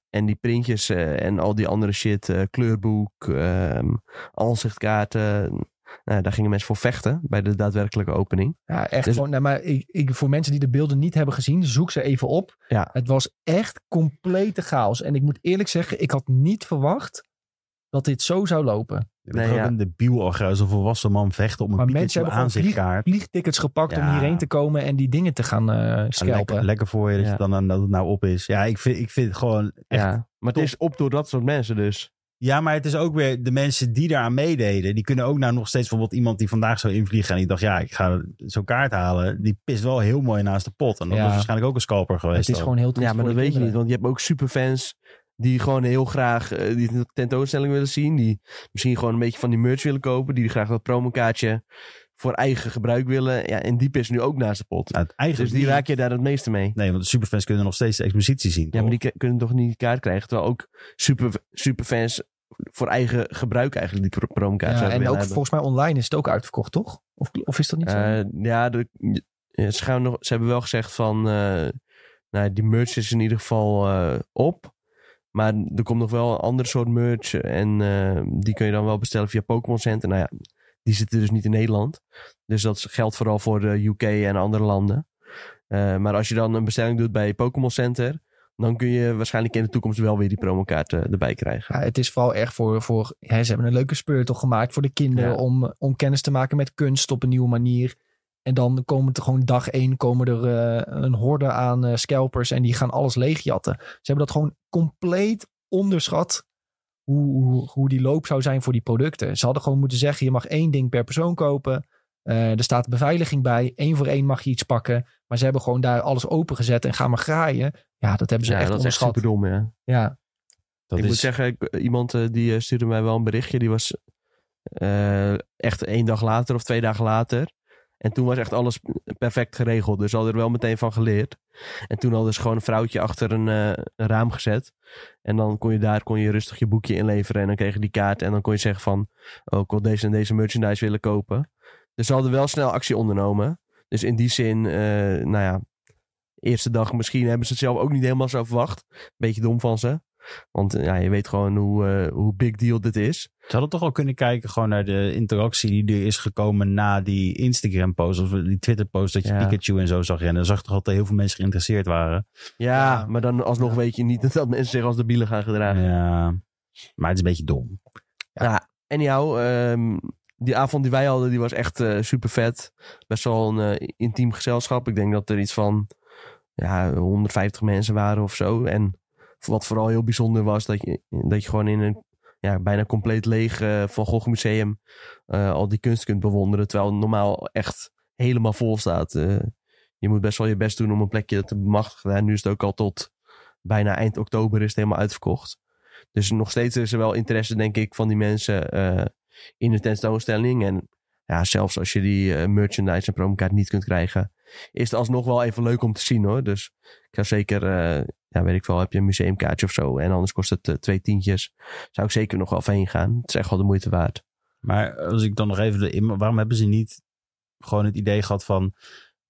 en die printjes eh, en al die andere shit. eh, kleurboek, ehm ansichtkaarten. Nou, daar gingen mensen voor vechten bij de daadwerkelijke opening. ja, echt dus- gewoon. Nou, maar ik, ik, voor mensen die de beelden niet hebben gezien, zoek ze even op. Ja. Het was echt complete chaos. En ik moet eerlijk zeggen, ik had niet verwacht dat dit zo zou lopen. Je moet Nee, ook ja. een debiel al als een volwassen man vechten om een Maar piekertje mensen hebben gewoon vlieg, aanzichtkaart. vliegtickets gepakt om Ja. hierheen te komen en die dingen te gaan eh Ja, lekker, scalpen. lekker voor je dat Ja. je dan aan dat het nou op is. Ja, ik vind, ik vind het gewoon echt ja. Maar top. het is op door dat soort mensen dus. Ja, maar het is ook weer de mensen die daaraan meededen. Die kunnen ook nou nog steeds bijvoorbeeld iemand die vandaag zou invliegen. En die dacht, ja, ik ga zo'n kaart halen. Die pist wel heel mooi naast de pot. En dat Ja. was waarschijnlijk ook een scalper geweest. Het is dan. gewoon heel triest Ja, maar voor dat de weet je niet. kinderen. Want je hebt ook superfans die gewoon heel graag eh, die tentoonstelling willen zien. Die misschien gewoon een beetje van die merch willen kopen. Die graag dat promokaartje voor eigen gebruik willen. Ja, en die pist nu ook naast de pot. Nou, het eigenlijk dus die niet. raak je daar het meeste mee. Nee, want de superfans kunnen nog steeds de expositie zien. Ja, maar die k- kunnen toch niet die kaart krijgen. Terwijl ook super, superfans voor eigen gebruik eigenlijk die pro- promokaart Ja, zouden en ook willen hebben. volgens mij online is het ook uitverkocht, toch? Of, of is dat niet zo? Eh, ja, de, ja, ze, gaan nog, ze hebben wel gezegd van... eh, nou, die merch is in ieder geval eh, op. Maar er komt nog wel een ander soort merch. En eh, die kun je dan wel bestellen via Pokémon Center. Nou ja, die zitten dus niet in Nederland. Dus dat geldt vooral voor de UK en andere landen. Eh, maar als je dan een bestelling doet bij Pokémon Center... dan kun je waarschijnlijk in de toekomst wel weer die promokaart eh, erbij krijgen. Ja, het is vooral erg voor, voor hè, ze hebben een leuke speurtocht gemaakt voor de kinderen Ja. om, om kennis te maken met kunst op een nieuwe manier. En dan komen er gewoon dag één komen er eh, een horde aan eh scalpers en die gaan alles leegjatten. Ze hebben dat gewoon compleet onderschat hoe, hoe, hoe die loop zou zijn voor die producten. Ze hadden gewoon moeten zeggen, je mag één ding per persoon kopen. Eh, er staat beveiliging bij. Eén voor één mag je iets pakken. Maar ze hebben gewoon daar alles opengezet en gaan maar graaien. Ja, dat hebben ze ja, echt dat is echt onderschat. super dom, ja. ja. dat ik is, moet zeggen, ik- iemand eh, die eh, stuurde mij wel een berichtje. Die was eh, echt één dag later of twee dagen later. En toen was echt alles perfect geregeld. Dus ze hadden er wel meteen van geleerd. En toen hadden ze gewoon een vrouwtje achter een, eh, een raam gezet. En dan kon je daar kon je rustig je boekje inleveren. En dan kreeg je die kaart. En dan kon je zeggen van... Oh, ik wil deze en deze merchandise willen kopen. Dus ze hadden wel snel actie ondernomen. Dus in die zin, eh, nou ja... Eerste dag misschien hebben ze het zelf ook niet helemaal zo verwacht. Beetje dom van ze. Want eh, ja, je weet gewoon hoe, eh, hoe big deal dit is. Ze hadden toch al kunnen kijken gewoon naar de interactie die er is gekomen na die Instagram-post. Of die Twitter-post dat je Ja. Pikachu en zo zag rennen. Dan zag je toch al dat heel veel mensen geïnteresseerd waren. Ja, Ja. maar dan alsnog weet je niet dat, dat mensen zich als debielen gaan gedragen. Ja. Maar het is een beetje dom. Anyhow, ehm, die avond die wij hadden, die was echt eh, super vet. Best wel een eh, intiem gezelschap. Ik denk dat er iets van ja, 150 mensen waren of zo. En wat vooral heel bijzonder was, dat je, dat je gewoon in een ja, bijna compleet leeg eh, Van Gogh Museum eh, al die kunst kunt bewonderen. Terwijl het normaal echt helemaal vol staat. Eh, je moet best wel je best doen om een plekje te bemachtigen. Ja, nu is het ook al tot bijna eind oktober is het helemaal uitverkocht. Dus nog steeds is er wel interesse, denk ik, van die mensen eh, in de tentoonstelling. En ja, zelfs als je die eh, merchandise en promokaart niet kunt krijgen, is het alsnog wel even leuk om te zien hoor. Dus ik zou zeker, eh, ja, weet ik wel, heb je een museumkaartje of zo. En anders kost het eh, twee tientjes. Zou ik zeker nog wel even heen gaan. Het is echt wel de moeite waard. Maar als ik dan nog even de in- waarom hebben ze niet gewoon het idee gehad van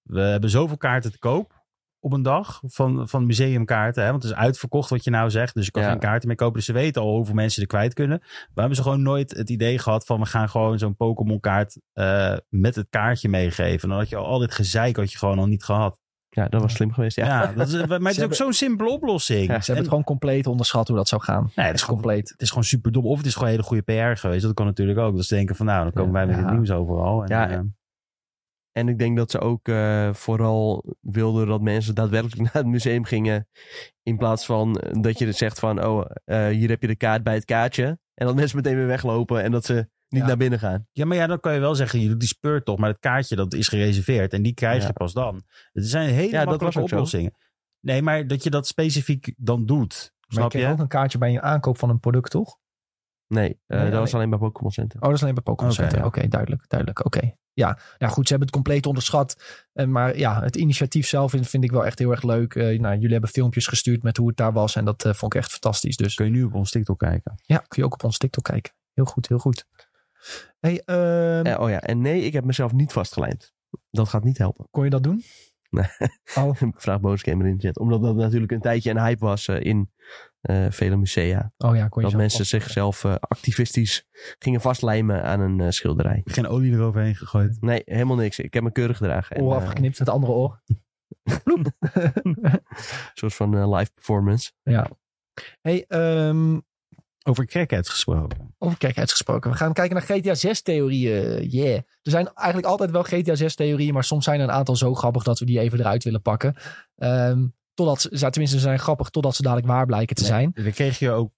we hebben zoveel kaarten te koop op een dag van, van museumkaarten, hè? want het is uitverkocht wat je nou zegt, dus je kan Ja. geen kaarten meer kopen. Dus ze weten al hoeveel mensen er kwijt kunnen. Maar hebben ze gewoon nooit het idee gehad van we gaan gewoon zo'n Pokémon kaart eh, met het kaartje meegeven. Dan had je al, al dit gezeik had je gewoon al niet gehad. Ja, dat was slim geweest. Ja, Ja, dat is, maar het is ook hebben- zo'n simpele oplossing. Ja, Ze hebben het gewoon compleet onderschat hoe dat zou gaan. nee, Het het, is is gewoon, compleet. het is gewoon super dom. Of het is gewoon hele goede PR geweest. Dat kan natuurlijk ook. Dat ze denken van nou, dan komen wij met Ja. het nieuws overal. En, Ja, eh, En ik denk dat ze ook eh, vooral wilden dat mensen daadwerkelijk naar het museum gingen. In plaats van eh, dat je zegt van, oh, eh, hier heb je de kaart bij het kaartje. En dat mensen meteen weer weglopen en dat ze niet Ja. naar binnen gaan. Ja, maar ja, dan kan je wel zeggen, je doet die speurtocht, maar dat kaartje dat is gereserveerd en die krijg Ja. je pas dan. Het zijn hele Ja, dat makkelijke was ook zo. oplossingen. Nee, maar dat je dat specifiek dan doet, Maar je snap je? kreeg ook een kaartje bij je aankoop van een product, toch? Oh, Nee, Oh, eh, dat alleen- was alleen bij Pokémon Center. Oh, dat is alleen bij Pokémon Oké, Center. ja. Oké, duidelijk, duidelijk. Oké. Ja, nou goed, ze hebben het compleet onderschat. Eh, Maar ja, het initiatief zelf vind vind ik wel echt heel erg leuk. Eh, nou, jullie hebben filmpjes gestuurd met hoe het daar was en dat eh, vond ik echt fantastisch. Dus Kun je nu op ons TikTok kijken. ja, kun je ook op ons TikTok kijken. Heel goed, heel goed. Hey, ehm, Eh, oh ja, en nee, ik heb mezelf niet vastgelijmd. Dat gaat niet helpen. kon je dat doen? Nee. Oh, Vraag Bonusgamer in de chat. Omdat dat natuurlijk een tijdje een hype was eh, in eh, vele musea. oh ja, kon je Dat zo mensen vast- zichzelf eh, activistisch gingen vastlijmen aan een eh, schilderij. Geen olie eroverheen gegooid. Nee, helemaal niks. Ik heb me keurig gedragen. En, Oor eh, afgeknipt, het andere oor. een soort van eh, live performance. Hey, ehm, Over crackheads gesproken. Over crackheads gesproken. We gaan kijken naar GTA 6 theorieën. Yeah. Er zijn eigenlijk altijd wel GTA 6 theorieën. Maar soms zijn er een aantal zo grappig dat we die even eruit willen pakken. Ehm, totdat ze, ja, tenminste, ze zijn grappig totdat ze dadelijk waar blijken te zijn. Dan kreeg je ook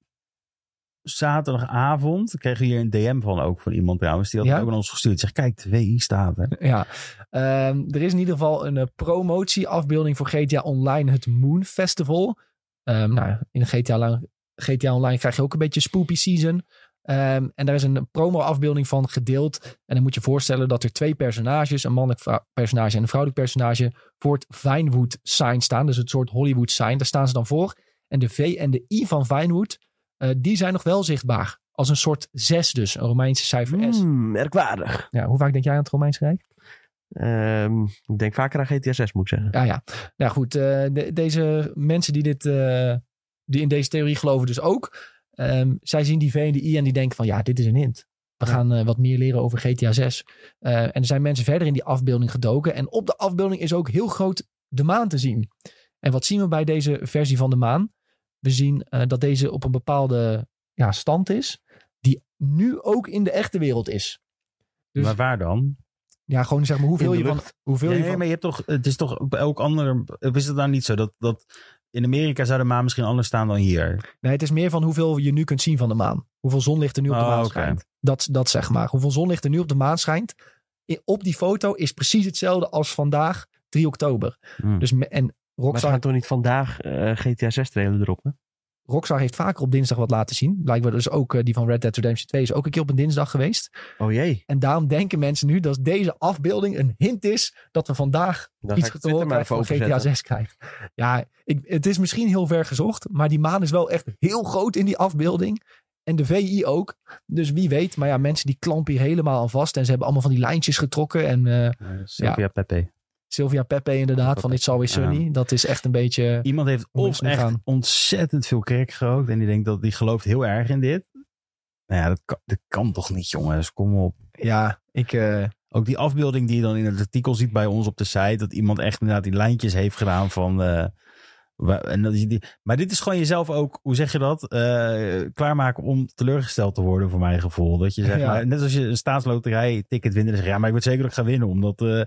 zaterdagavond, kreeg je hier een DM van ook van iemand trouwens. Die had Ja? het ook aan ons gestuurd. Zeg, kijk, 2i staat er. Ja. Ehm, er is in ieder geval een eh, promotieafbeelding voor GTA Online, het Moon Festival. Ehm, nou, in GTA, Online- GTA Online krijg je ook een beetje spoopy season. Ehm, en daar is een promo-afbeelding van gedeeld. En dan moet je voorstellen dat er twee personages, een mannelijk vrou- personage en een vrouwelijk personage, voor het Vinewood sign staan. Dus het soort Hollywood sign. Daar staan ze dan voor. En de V en de I van Vinewood, eh, die zijn nog wel zichtbaar. Als een soort zes dus, een Romeinse cijfer S. Hmm, merkwaardig. Ja, hoe vaak denk jij aan het Romeinse Rijk? Ehm, ik denk vaker aan GTA 6, moet ik zeggen. Ja, ja. Nou goed, eh, de- deze mensen die, dit, eh, die in deze theorie geloven dus ook. ehm, zij zien die V en die I en die denken van ja, dit is een hint. We gaan eh, wat meer leren over GTA 6. Eh, en er zijn mensen verder in die afbeelding gedoken. En op de afbeelding is ook heel groot de maan te zien. En wat zien we bij deze versie van de maan? We zien eh, dat deze op een bepaalde ja, stand is. Die nu ook in de echte wereld is. Dus- Maar waar dan? Ja, gewoon zeg maar hoeveel In de je van... Hoeveel nee, je van maar je hebt toch, het is toch bij elk ander, is het nou niet zo dat, dat in Amerika zou de maan misschien anders staan dan hier? Nee, het is meer van hoeveel je nu kunt zien van de maan. Hoeveel zonlicht er nu op de Oh, maan oké. schijnt. Dat, dat zeg maar. Hoeveel zonlicht er nu op de maan schijnt. i- Op die foto is precies hetzelfde als vandaag, 3 oktober. Hmm. Dus me- en Maar ze Rockstar, gaan toch niet vandaag eh, GTA 6 trailer droppen? Rockstar heeft vaker op dinsdag wat laten zien. Blijkbaar dus ook eh, die van Red Dead Redemption 2 is ook een keer op een dinsdag geweest. Oh jee. En daarom denken mensen nu dat deze afbeelding een hint is dat we vandaag Dan iets ga ik te Twitter horen maar krijgen even van GTA openzetten. 6 krijgen. Ja, ik, het is misschien heel ver gezocht, maar die maan is wel echt heel groot in die afbeelding. En de VI ook. Dus wie weet. Maar ja, mensen die klampen hier helemaal aan vast. En ze hebben allemaal van die lijntjes getrokken. En eh, Sylvia Pepe. Sylvia Pepe inderdaad, van It's Always Sunny. Dat is echt een beetje... Iemand heeft Om of mensen echt gaan. ontzettend veel crack gerookt en die denkt dat die gelooft heel erg in dit. Nou ja, dat kan, dat kan toch niet, jongens? Kom op. Ja, ik... eh, Ook die afbeelding die je dan in het artikel ziet bij ons op de site, dat iemand echt inderdaad die lijntjes heeft gedaan van. eh, wa- en dat is die, maar dit is gewoon jezelf ook, hoe zeg je dat? eh, klaarmaken om teleurgesteld te worden, voor mijn gevoel. Dat je zegt, Ja. maar, net als je een staatsloterij ticket winnen, dan zeg je, ja, maar ik weet zeker dat ik ga winnen, omdat. eh,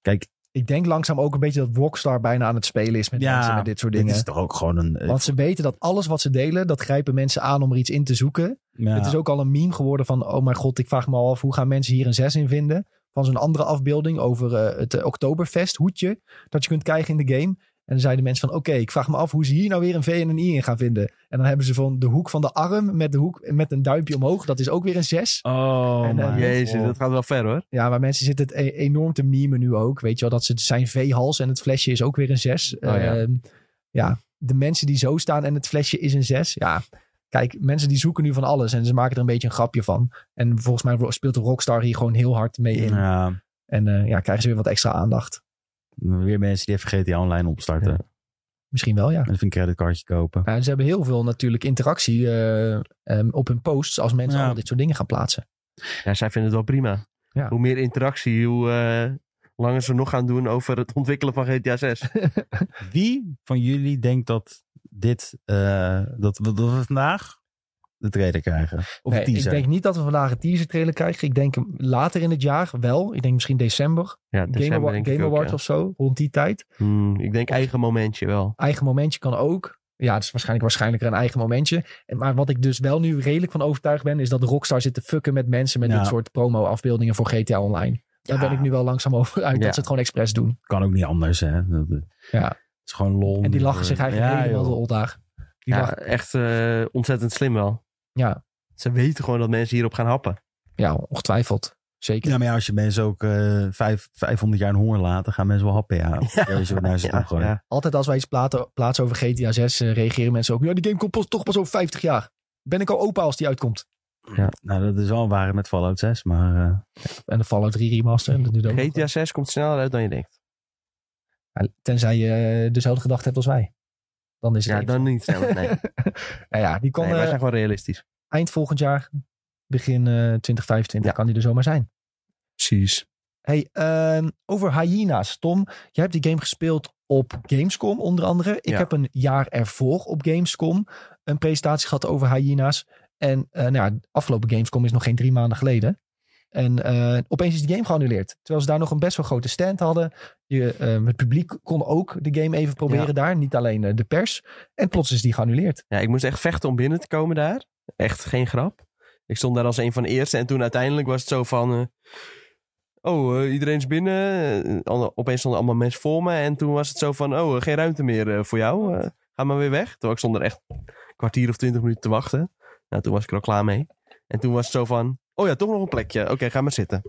kijk, ik denk langzaam ook een beetje dat Rockstar bijna aan het spelen is met Ja, mensen met dit soort dit dingen. is toch ook gewoon een. eh, Want ze weten dat alles wat ze delen, dat grijpen mensen aan om er iets in te zoeken. ja. Het is ook al een meme geworden van, oh mijn god, ik vraag me al af, hoe gaan mensen hier een 6 in vinden? Van zo'n andere afbeelding over eh, het eh, Oktoberfest hoedje, dat je kunt krijgen in de game. En dan zeiden mensen van, oké, ik vraag me af hoe ze hier nou weer een V en een I in gaan vinden. En dan hebben ze van de hoek van de arm met, de hoek, met een duimpje omhoog, dat is ook weer een 6. Oh, En, eh, man. Jezus, dat gaat wel ver hoor. Ja, maar mensen zitten het e- enorm te memen nu ook. Weet je wel, dat ze zijn V-hals en het flesje is ook weer een 6. Oh ja. Ehm, ja, de mensen die zo staan en het flesje is een 6. Ja, kijk, mensen die zoeken nu van alles en ze maken er een beetje een grapje van. En volgens mij ro- speelt de Rockstar hier gewoon heel hard mee in. Ja, En eh, ja, krijgen ze weer wat extra aandacht. weer mensen die even GTA Online opstarten. Ja. Misschien wel, ja. En even een creditcardje kopen. Ja, en ze hebben heel veel natuurlijk interactie eh, ehm, op hun posts als mensen Ja. allemaal dit soort dingen gaan plaatsen. Ja, zij vinden het wel prima. Ja. Hoe meer interactie, hoe eh, langer ze nog gaan doen over het ontwikkelen van GTA 6. Wie van jullie denkt dat dit, eh, dat, we, dat we vandaag de trailer krijgen? Of Nee, een teaser? Ik denk niet dat we vandaag een teaser trailer krijgen. Ik denk hem later in het jaar wel. Ik denk misschien december. Ja, Game, december Award, denk Game ik ook, Awards ja. of zo, rond die tijd. Hmm, ik denk eigen momentje wel. Eigen momentje kan ook. Ja, het is waarschijnlijk waarschijnlijker een eigen momentje. En- Maar wat ik dus wel nu redelijk van overtuigd ben, is dat Rockstar zit te fucken met mensen met Ja. dit soort promo-afbeeldingen voor GTA Online. Daar Ja. ben ik nu wel langzaam over uit Ja. dat ze het gewoon expres doen. Kan ook niet anders, hè? Dat, dat- Ja. Het is gewoon lol. En die lachen zich eigenlijk Ja, helemaal joh. de daar. Die Ja, lachen. echt eh, ontzettend slim wel. Ja. Ze weten gewoon dat mensen hierop gaan happen. ja, ongetwijfeld. Zeker. Ja, maar ja, als je mensen ook eh vijf, 500 jaar in honger laat, dan gaan mensen wel happen, ja. Of je zo naar ze toe gooien. ja. Altijd als wij iets platen- plaatsen over GTA 6, eh, reageren mensen ook. Ja, die game komt pas- toch pas over 50 jaar. Ben ik al opa als die uitkomt? Nou, dat is wel waar met Fallout 6, maar... eh, En de Fallout 3 remaster. En dat doet ook nog GTA 6 komt sneller uit dan je denkt. Ja, Nou, tenzij je eh, dezelfde gedachte hebt als wij. Dan is het Ja, even- dan niet sneller. Nee, Nou ja, die kan nee wij eh, zijn gewoon realistisch. eind volgend jaar, begin eh, 2025, Ja. kan die er zomaar zijn. Precies. Hey, ehm, over Hyena's. Tom, jij hebt die game gespeeld op Gamescom onder andere. Ik Ja. heb een jaar ervoor op Gamescom een presentatie gehad over Hyena's. En eh nou ja, afgelopen Gamescom is nog geen drie maanden geleden. En eh, opeens is die game geannuleerd. Terwijl ze daar nog een best wel grote stand hadden. Je, eh, het publiek kon ook de game even proberen Ja. daar. Niet alleen eh, de pers. En plots is die geannuleerd. Ja, ik moest echt vechten om binnen te komen daar. Echt geen grap. Ik stond daar als een van de eerste. En toen uiteindelijk was het zo van... eh, oh, eh, iedereen is binnen. Eh, alle- opeens stonden allemaal mensen voor me. En toen was het zo van... Oh, eh, geen ruimte meer eh, voor jou. Eh, ga maar weer weg. Terwijl ik stond er echt een kwartier of twintig minuten te wachten. Nou, toen was ik er al klaar mee. En toen was het zo van... Oh ja, toch nog een plekje. Oké, ga maar zitten.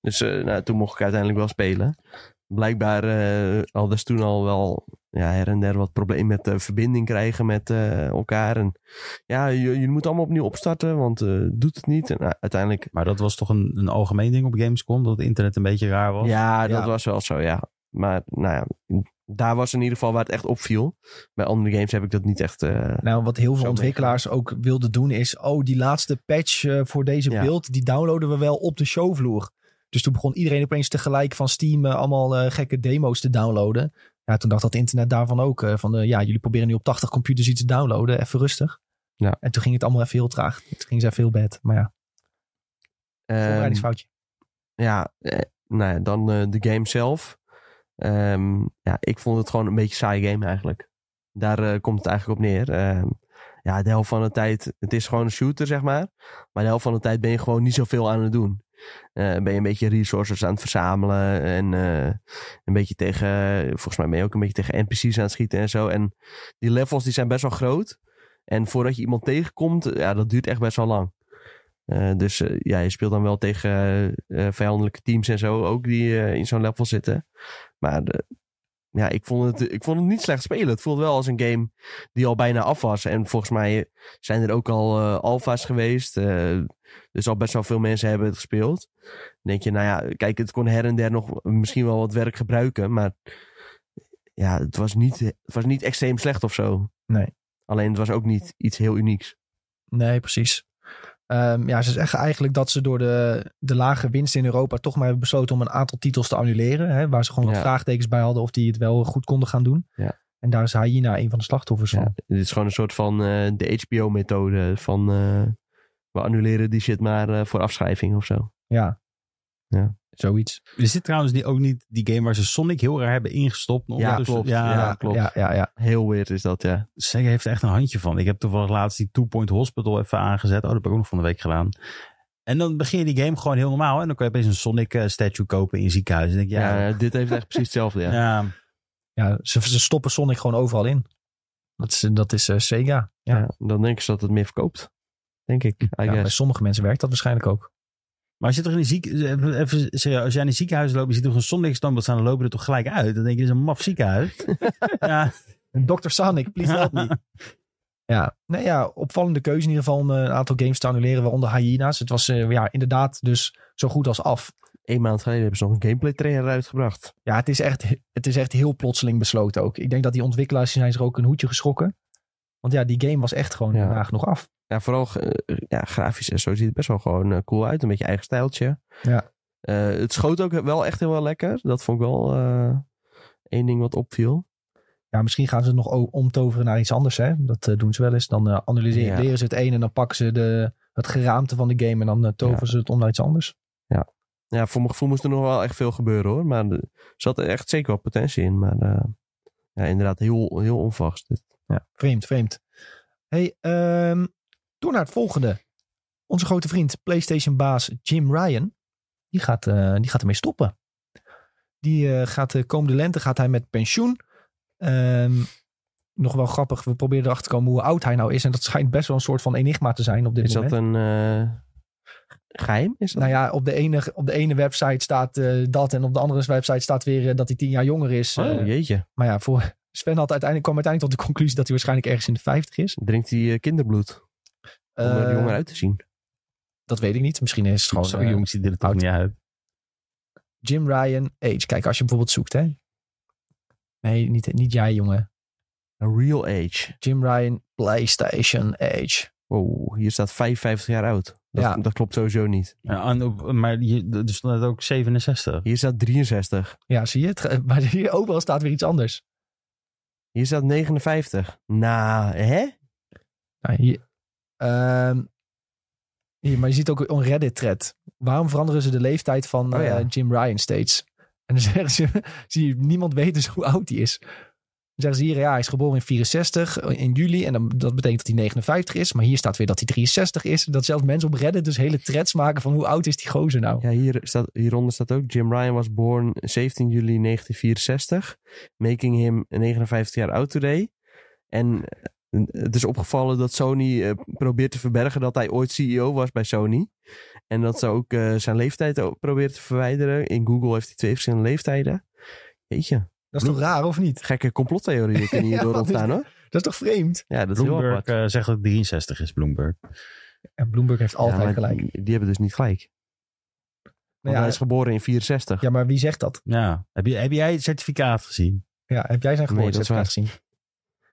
Dus eh, nou, toen mocht ik uiteindelijk wel spelen. Blijkbaar eh hadden ze toen al wel ja, her en der wat probleem met eh, verbinding krijgen met eh, elkaar. En ja, je- jullie moeten allemaal opnieuw opstarten, want eh, doet het niet. En nou, uiteindelijk, Maar dat was toch een, een algemeen ding op Gamescom? Dat het internet een beetje raar was? ja, ah, dat Ja. was wel zo, ja. Maar nou ja, daar was in ieder geval waar het echt opviel. Bij andere games heb ik dat niet echt... eh, Nou, wat heel veel Zo ontwikkelaars ook wilden doen is... Oh, die laatste patch eh, voor deze Ja. beeld... die downloaden we wel op de showvloer. Dus toen begon iedereen opeens tegelijk van Steam... eh, allemaal eh, gekke demo's te downloaden. Ja, toen dacht dat internet daarvan ook. eh, van eh, ja, jullie proberen nu op 80 computers iets te downloaden. Even rustig. Ja. En toen ging het allemaal even heel traag. Toen ging ze even heel bad. Maar ja, ehm, voorbereidingsfoutje. ja, eh, nou ja, dan eh, de game zelf. Ehm, ja, ik vond het gewoon een beetje een saai game eigenlijk. Daar eh, komt het eigenlijk op neer. Ehm, ja, de helft van de tijd, het is gewoon een shooter zeg maar. Maar de helft van de tijd ben je gewoon niet zoveel aan het doen. Eh, ben je een beetje resources aan het verzamelen. En eh, een beetje tegen, volgens mij ben je ook een beetje tegen NPC's aan het schieten en zo. En die levels die zijn best wel groot. En voordat je iemand tegenkomt, ja, dat duurt echt best wel lang. Eh, dus eh, ja, je speelt dan wel tegen eh, eh, vijandelijke teams en zo ook die eh, in zo'n level zitten. Maar de- ja, ik vond, het, ik vond het niet slecht spelen. Het voelde wel als een game die al bijna af was. En volgens mij zijn er ook al eh alfa's geweest. eh, dus al best wel veel mensen hebben het gespeeld. Dan denk je, nou ja, kijk, het kon her en der nog misschien wel wat werk gebruiken. Maar ja, het was niet, het was niet extreem slecht of zo. Nee. Alleen het was ook niet iets heel unieks. Nee, precies. Ehm, ja, ze zeggen eigenlijk dat ze door de, de lage winst in Europa toch maar hebben besloten om een aantal titels te annuleren. Hè, waar ze gewoon wat Ja. vraagtekens bij hadden of die het wel goed konden gaan doen. Ja. En daar is Hyena een van de slachtoffers Ja, van. dit is gewoon een soort van eh, de HBO-methode. Van eh, we annuleren die shit maar eh, voor afschrijving of zo. Ja. Ja. Zoiets. Er zit trouwens die, ook niet die game waar ze Sonic heel raar hebben ingestopt. maar Ja, ondertussen- klopt. Ja, Ja. klopt. Ja, ja, ja. Heel weird is dat, ja. Sega heeft er echt een handje van. Ik heb toevallig laatst die Two Point Hospital even aangezet. Oh, dat heb ik ook nog van de week gedaan. En dan begin je die game gewoon heel normaal. En dan kan je opeens een Sonic eh, statue kopen in ziekenhuis. En dan denk je, ja. ja, dit heeft echt precies hetzelfde, ja. ja. Ja, ja ze, ze stoppen Sonic gewoon overal in. Dat is, dat is eh, Sega. Ja. dan denken ze dat het meer verkoopt. Denk ik, I Ja, bij guess. sommige mensen werkt dat waarschijnlijk ook. Maar als je toch in een ziek... Even, even serieus, als jij in een ziekenhuis loopt, je ziet toch een Sonic standbeeld staan, dan lopen er toch gelijk uit. Dan denk je, dit is een maf ziekenhuis. ja. Dr. Sonic, please help me. Ja, nou ja, opvallende keuze in ieder geval om eh, een aantal games te annuleren, waaronder Hyena's. Het was eh, ja, inderdaad dus zo goed als af. Eén maand geleden hebben ze nog een gameplay trailer uitgebracht. Ja, het is echt, het is echt heel plotseling besloten ook. Ik denk dat die ontwikkelaars die zijn zich ook een hoedje geschrokken. Want ja, die game was echt gewoon Ja. vandaag nog af. Ja, vooral eh, ja, grafisch en zo ziet het best wel gewoon eh, cool uit. Een beetje eigen stijltje. Ja. Eh, het schoot ook wel echt heel wel lekker. Dat vond ik wel eh, één ding wat opviel. Ja, misschien gaan ze het nog o- omtoveren naar iets anders. Hè? Dat eh, doen ze wel eens. Dan eh, analyseren Ja. leren ze het een en dan pakken ze de, het geraamte van de game en dan eh, toveren ze het om naar iets anders. Ja, voor mijn gevoel moest er nog wel echt veel gebeuren hoor. Maar er zat er echt zeker wel potentie in. Maar eh, ja, inderdaad, heel, heel onvast. dit. Ja. Vreemd, vreemd. Hey, ehm, door naar het volgende. Onze grote vriend, PlayStation-baas Jim Ryan, die gaat, eh, die gaat ermee stoppen. Die eh, gaat de komende lente gaat hij met pensioen. Ehm, nog wel grappig, we proberen erachter te komen hoe oud hij nou is. En dat schijnt best wel een soort van enigma te zijn op dit Is moment. dat een eh, geheim? Is dat... Nou ja, op de ene, op de ene website staat eh, dat en op de andere website staat weer eh, dat hij tien jaar jonger is. Oh, Eh, jeetje. maar ja, voor Sven had uiteindelijk, kwam uiteindelijk tot de conclusie dat hij waarschijnlijk ergens in de 50 is. Drinkt hij eh, kinderbloed? Om er Eh, jonger uit te zien. dat weet ik niet. Misschien is het gewoon Zo eh, jong ziet dit er toch oud. niet uit. Jim Ryan age. Kijk, als je bijvoorbeeld zoekt, hè. Nee, niet, niet jij, jongen. A real age. Jim Ryan PlayStation age. Wow, Oh, hier staat 55 jaar oud. Dat, Ja. dat klopt sowieso niet. Ja, en op- maar je, er stond ook 67. Hier staat 63. Ja, zie je het? Maar hier overal staat weer iets anders. Hier staat 59. Nou, hè? Nou, hier, Ehm, Ja, maar je ziet ook een Reddit-thread. Waarom veranderen ze de leeftijd van Oh ja. eh, Jim Ryan steeds? En dan zeggen ze, zie je, niemand weet dus hoe oud hij is. Dan zeggen ze hier, ja, hij is geboren in 64, in juli. En dan, dat betekent dat hij 59 is. Maar hier staat weer dat hij 63 is. Dat zelfs mensen op Reddit dus hele threads maken van hoe oud is die gozer nou? Ja, hier staat, hieronder staat ook... Jim Ryan was born 17 juli 1964. Making him 59 jaar oud today. En eh, het is opgevallen dat Sony eh, probeert te verbergen... dat hij ooit CEO was bij Sony. En dat ze ook eh, zijn leeftijd ook proberen te verwijderen. In Google heeft hij twee verschillende leeftijden. Jeetje, Dat is toch raar, of niet? gekke complottheorieën kunnen Ja, hierdoor wat is dit? ontstaan hoor. Dat is toch vreemd? Ja, dat is heel Bloomberg apart. eh, zegt dat het 63 is, Bloomberg. En Bloomberg heeft altijd Ja, maar gelijk. Die, die hebben dus niet gelijk. Want Nou ja, hij is geboren in 64. ja, maar wie zegt dat? Ja. Heb, je, heb jij het certificaat gezien? Ja, heb jij zijn Nee, dat is geboortecertificaat waar. gezien?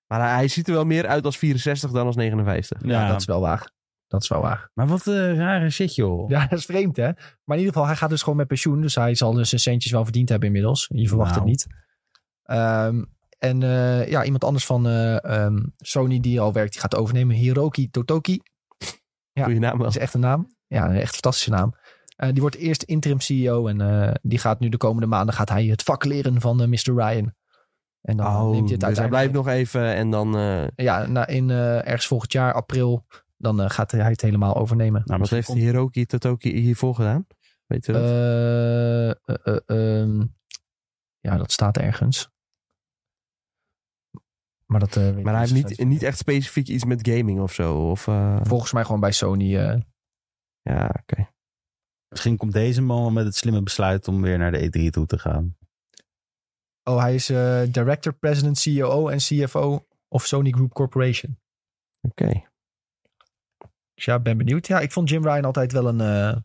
Maar hij, hij ziet er wel meer uit als 64 dan als 59. Ja. dat is wel waar. Dat is wel waar. Maar wat een rare shit, joh. Ja, dat is vreemd, hè? Maar in ieder geval, hij gaat dus gewoon met pensioen. Dus hij zal dus zijn centjes wel verdiend hebben inmiddels. Je verwacht Nou. het niet. Ehm, en eh, ja, iemand anders van eh, ehm, Sony die al werkt, die gaat overnemen. Hiroki Totoki. Ja. Goeie naam wel. Dat is echt een naam. Ja, een echt fantastische naam. Eh, die wordt eerst interim CEO. En eh, die gaat nu de komende maanden gaat hij het vak leren van eh, Mr. Ryan. En dan Oh, neemt hij het dus hij uiteindelijk... blijft nog even en dan... Ah, eh Ja, na, in, eh, ergens volgend jaar, april, dan eh, gaat hij het helemaal overnemen. Nou, wat misschien heeft komt- Hiroki Totoki hiervoor gedaan? Weet je dat? Eh, eh, eh, ehm, ja, dat staat ergens. Maar, dat, eh, weet ik maar hij heeft niet, precies. niet echt specifiek iets met gaming of zo. Of, eh, Volgens mij gewoon bij Sony. eh, ja, oké. Misschien komt deze man wel met het slimme besluit om weer naar de E3 toe te gaan. oh, hij is eh, director, president, CEO en CFO of Sony Group Corporation. Oké. Dus ja, ben benieuwd. Ja, ik vond Jim Ryan altijd wel een... eh,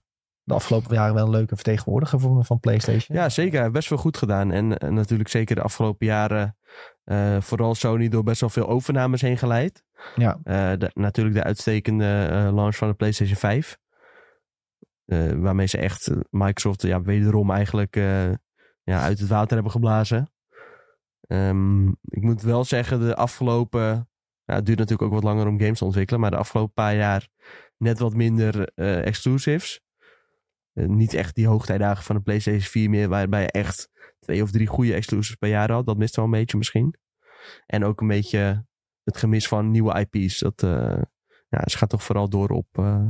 de afgelopen jaren wel een leuke vertegenwoordiger van, van PlayStation. Ja, zeker. Hij heeft best veel goed gedaan. En eh, natuurlijk zeker de afgelopen jaren... eh, vooral Sony door best wel veel overnames heen geleid. Ja. Eh, de- natuurlijk de uitstekende eh, launch van de PlayStation 5. Eh, waarmee ze echt eh, Microsoft ja, wederom eigenlijk eh, ja, uit het water hebben geblazen. Ehm, ik moet wel zeggen, de afgelopen. Ja, het duurt natuurlijk ook wat langer om games te ontwikkelen. Maar de afgelopen paar jaar net wat minder eh, exclusives. Eh, niet echt die hoogtijdagen van de PlayStation 4 meer. Waarbij je echt twee of drie goede exclusives per jaar had. Dat mist wel een beetje misschien. En ook een beetje het gemis van nieuwe IP's. Dat, eh, ja, ze gaat toch vooral door op eh,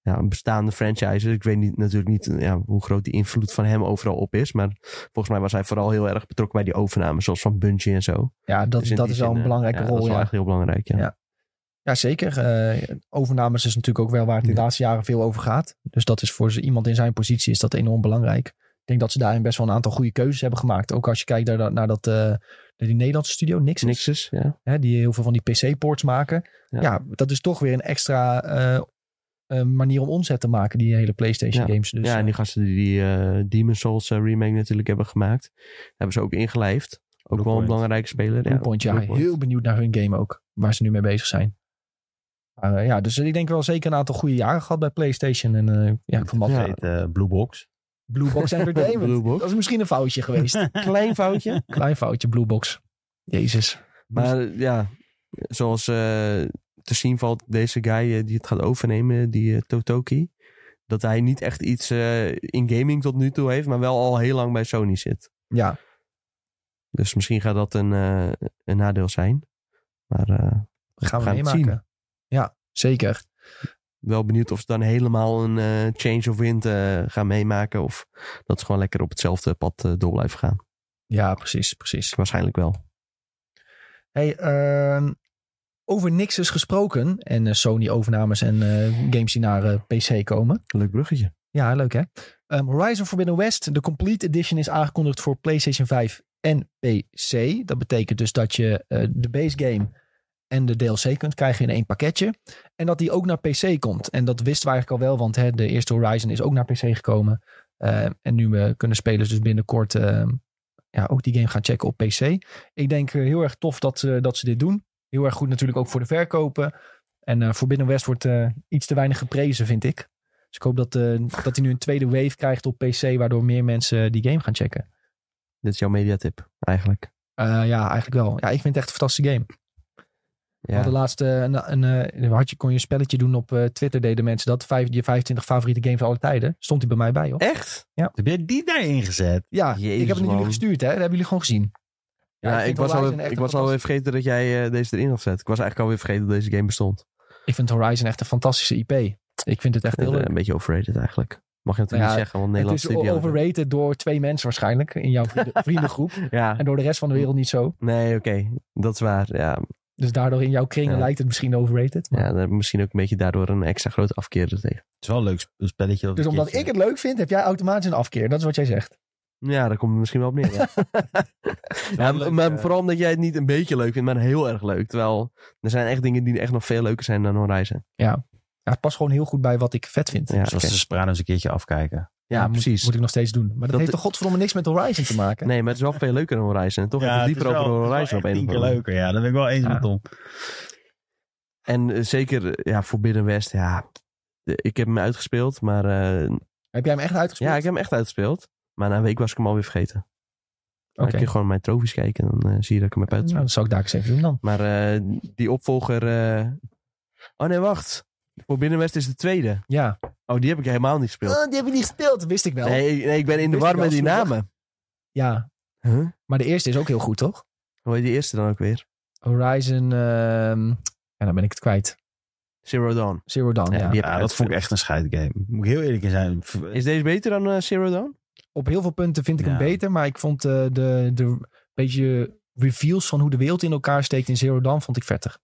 ja, bestaande franchises. Ik weet niet, natuurlijk niet ja, hoe groot die invloed van hem overal op is. Maar volgens mij was hij vooral heel erg betrokken bij die overnames. Zoals van Bungie en zo. Ja, dat, Dus in dat die is wel zin, een eh, belangrijke ja, rol. Dat is wel ja. echt heel belangrijk, ja. Ja. Ja, zeker. Eh, overnames is natuurlijk ook wel waar het in de Ja. laatste jaren veel over gaat. Dus dat is voor z- iemand in zijn positie is dat enorm belangrijk. Ik denk dat ze daarin best wel een aantal goede keuzes hebben gemaakt. Ook als je kijkt naar, dat- naar, dat, eh, naar die Nederlandse studio, Nixon. Nixus, ja. Hè, die heel veel van die PC-ports maken. Ja. Ja. dat is toch weer een extra eh, eh, manier om omzet te maken, die hele PlayStation Ja. games. Dus, ja, en die gasten die, die eh, Demon Souls eh, remake natuurlijk hebben gemaakt. Hebben ze ook ingelijfd. Ook wel Bluepoint. een belangrijke speler. Blue Point, ja. Bluepoint. Heel benieuwd naar hun game ook. Waar ze nu mee bezig zijn. Maar eh, ja, dus ik denk wel zeker een aantal goede jaren gehad bij PlayStation. En eh, ja, ik vermat Dat Ja. heet eh, Blue Box. Blue Box Entertainment. Blue Box. Dat is misschien een foutje geweest. Klein foutje. Klein foutje, Blue Box. Jezus. Maar eh, ja, zoals eh, te zien valt, deze guy eh, die het gaat overnemen, die eh, Totoki. Dat hij niet echt iets eh, in gaming tot nu toe heeft, maar wel al heel lang bij Sony zit. Ja, Dus misschien gaat dat een, eh, een nadeel zijn. Maar eh, gaan we gaan het zien. meemaken. Ja, zeker. wel benieuwd of ze dan helemaal een eh, change of wind eh, gaan meemaken. Of dat ze gewoon lekker op hetzelfde pad eh, door blijven gaan. Ja, precies, precies. Waarschijnlijk wel. Hey, ehm, over niks is gesproken. En eh, Sony-overnames en eh, games die naar eh, PC komen. Leuk bruggetje. Ja, leuk hè. Ehm, Horizon Forbidden West, de Complete Edition, is aangekondigd voor PlayStation 5 en PC. Dat betekent dus dat je eh, de base game en de DLC kunt krijgen in één pakketje. En dat die ook naar PC komt. En dat wisten we eigenlijk al wel, want hè, de eerste Horizon is ook naar PC gekomen. Eh, en nu eh, kunnen spelers dus binnenkort eh, ja, ook die game gaan checken op PC. Ik denk eh, heel erg tof dat, ze dat ze dit doen. Heel erg goed natuurlijk ook voor de verkopen. En eh Forbidden West wordt eh, iets te weinig geprezen, vind ik. Dus ik hoop dat, eh, dat hij nu een tweede wave krijgt op PC, waardoor meer mensen die game gaan checken. Dit is jouw mediatip eigenlijk. Eh, ja, eigenlijk wel. Ja, ik vind het echt een fantastische game. We hadden laatst eh, een, een, eh, had je, kon je een spelletje doen op eh, Twitter, deden mensen dat. Vijf, je 25 favoriete games van alle tijden. Stond die bij mij bij, hoor. Echt? Heb jij die daarin gezet? Ja, Jezus, ik heb het naar jullie man. gestuurd, hè. Dat hebben jullie gewoon gezien. Ja, ik ik, vind was Horizon al, echt ik een was alweer vergeten dat jij eh, deze erin had gezet. Ik was eigenlijk alweer vergeten dat deze game bestond. Ik vind Horizon echt een fantastische IP. Ik vind het echt heel Eh, leuk. een beetje overrated eigenlijk. Mag je natuurlijk Nou ja, niet zeggen, want Het Nederland is studio. overrated door twee mensen waarschijnlijk. In jouw vrienden- vriendengroep. Ja, En door de rest van de wereld niet zo. nee, oké. Dat is waar. Ja, Dus daardoor in jouw kringen Ja. lijkt het misschien overrated. maar- ja daar heb ik misschien ook een beetje daardoor een extra grote afkeer er tegen. Het is wel een leuk sp- spelletje. dat Dus een omdat keertje- ik het leuk vind, heb jij automatisch een afkeer. Dat is wat jij zegt. Ja, daar komt het misschien wel op neer. Ja. Ja, Wel leuk, maar eh, vooral omdat jij het niet een beetje leuk vindt, maar heel erg leuk. Terwijl er zijn echt dingen die echt nog veel leuker zijn dan Horizon. Ja, het past gewoon heel goed bij wat ik vet vind. Ja, Zoals oké. de Sopranos een keertje afkijken. ja, Ja, moet- precies. Moet, ik nog steeds doen. Maar dat, Dat- heeft toch godverdomme niks met Horizon te maken? Nee, maar het is wel veel leuker dan Horizon. En toch even dieper over Horizon op een of keer andere manier. leuker, ja. Dat ben ik wel eens Ja. met Tom. En eh, zeker, eh, ja, Forbidden West, ja. De- Ik heb hem uitgespeeld, maar... eh, Heb jij hem echt uitgespeeld? ja, ik heb hem echt uitgespeeld. Maar na een week was ik hem alweer vergeten. Dan Oké. kun je gewoon mijn trofies kijken en dan eh, zie je dat ik hem Nou, heb uitgespeeld. dat zal ik daar eens even doen dan. Maar eh, die opvolger... eh, Oh nee, wacht. Forbidden West is de tweede. Ja. Oh, Oh, die heb ik helemaal niet gespeeld. die heb je niet gespeeld. Dat wist ik wel. Nee, ik- nee, ik ben in de Eh, Wist war ik wel, met die zondag. namen. Ja, Huh? maar de eerste is ook heel goed, toch? Hoe heet die eerste dan ook weer? Horizon... ehm, Ja, dan ben ik het kwijt. Zero Dawn. Zero Dawn, Ja, ja. die heb Ja, ik dat vond ik echt een scheidgame. Moet ik heel eerlijk in zijn. Is deze beter dan eh, Zero Dawn? Op heel veel punten vind ik hem Ja. beter. Maar ik vond eh, de, de beetje reveals van hoe de wereld in elkaar steekt in Zero Dawn vond ik vettig.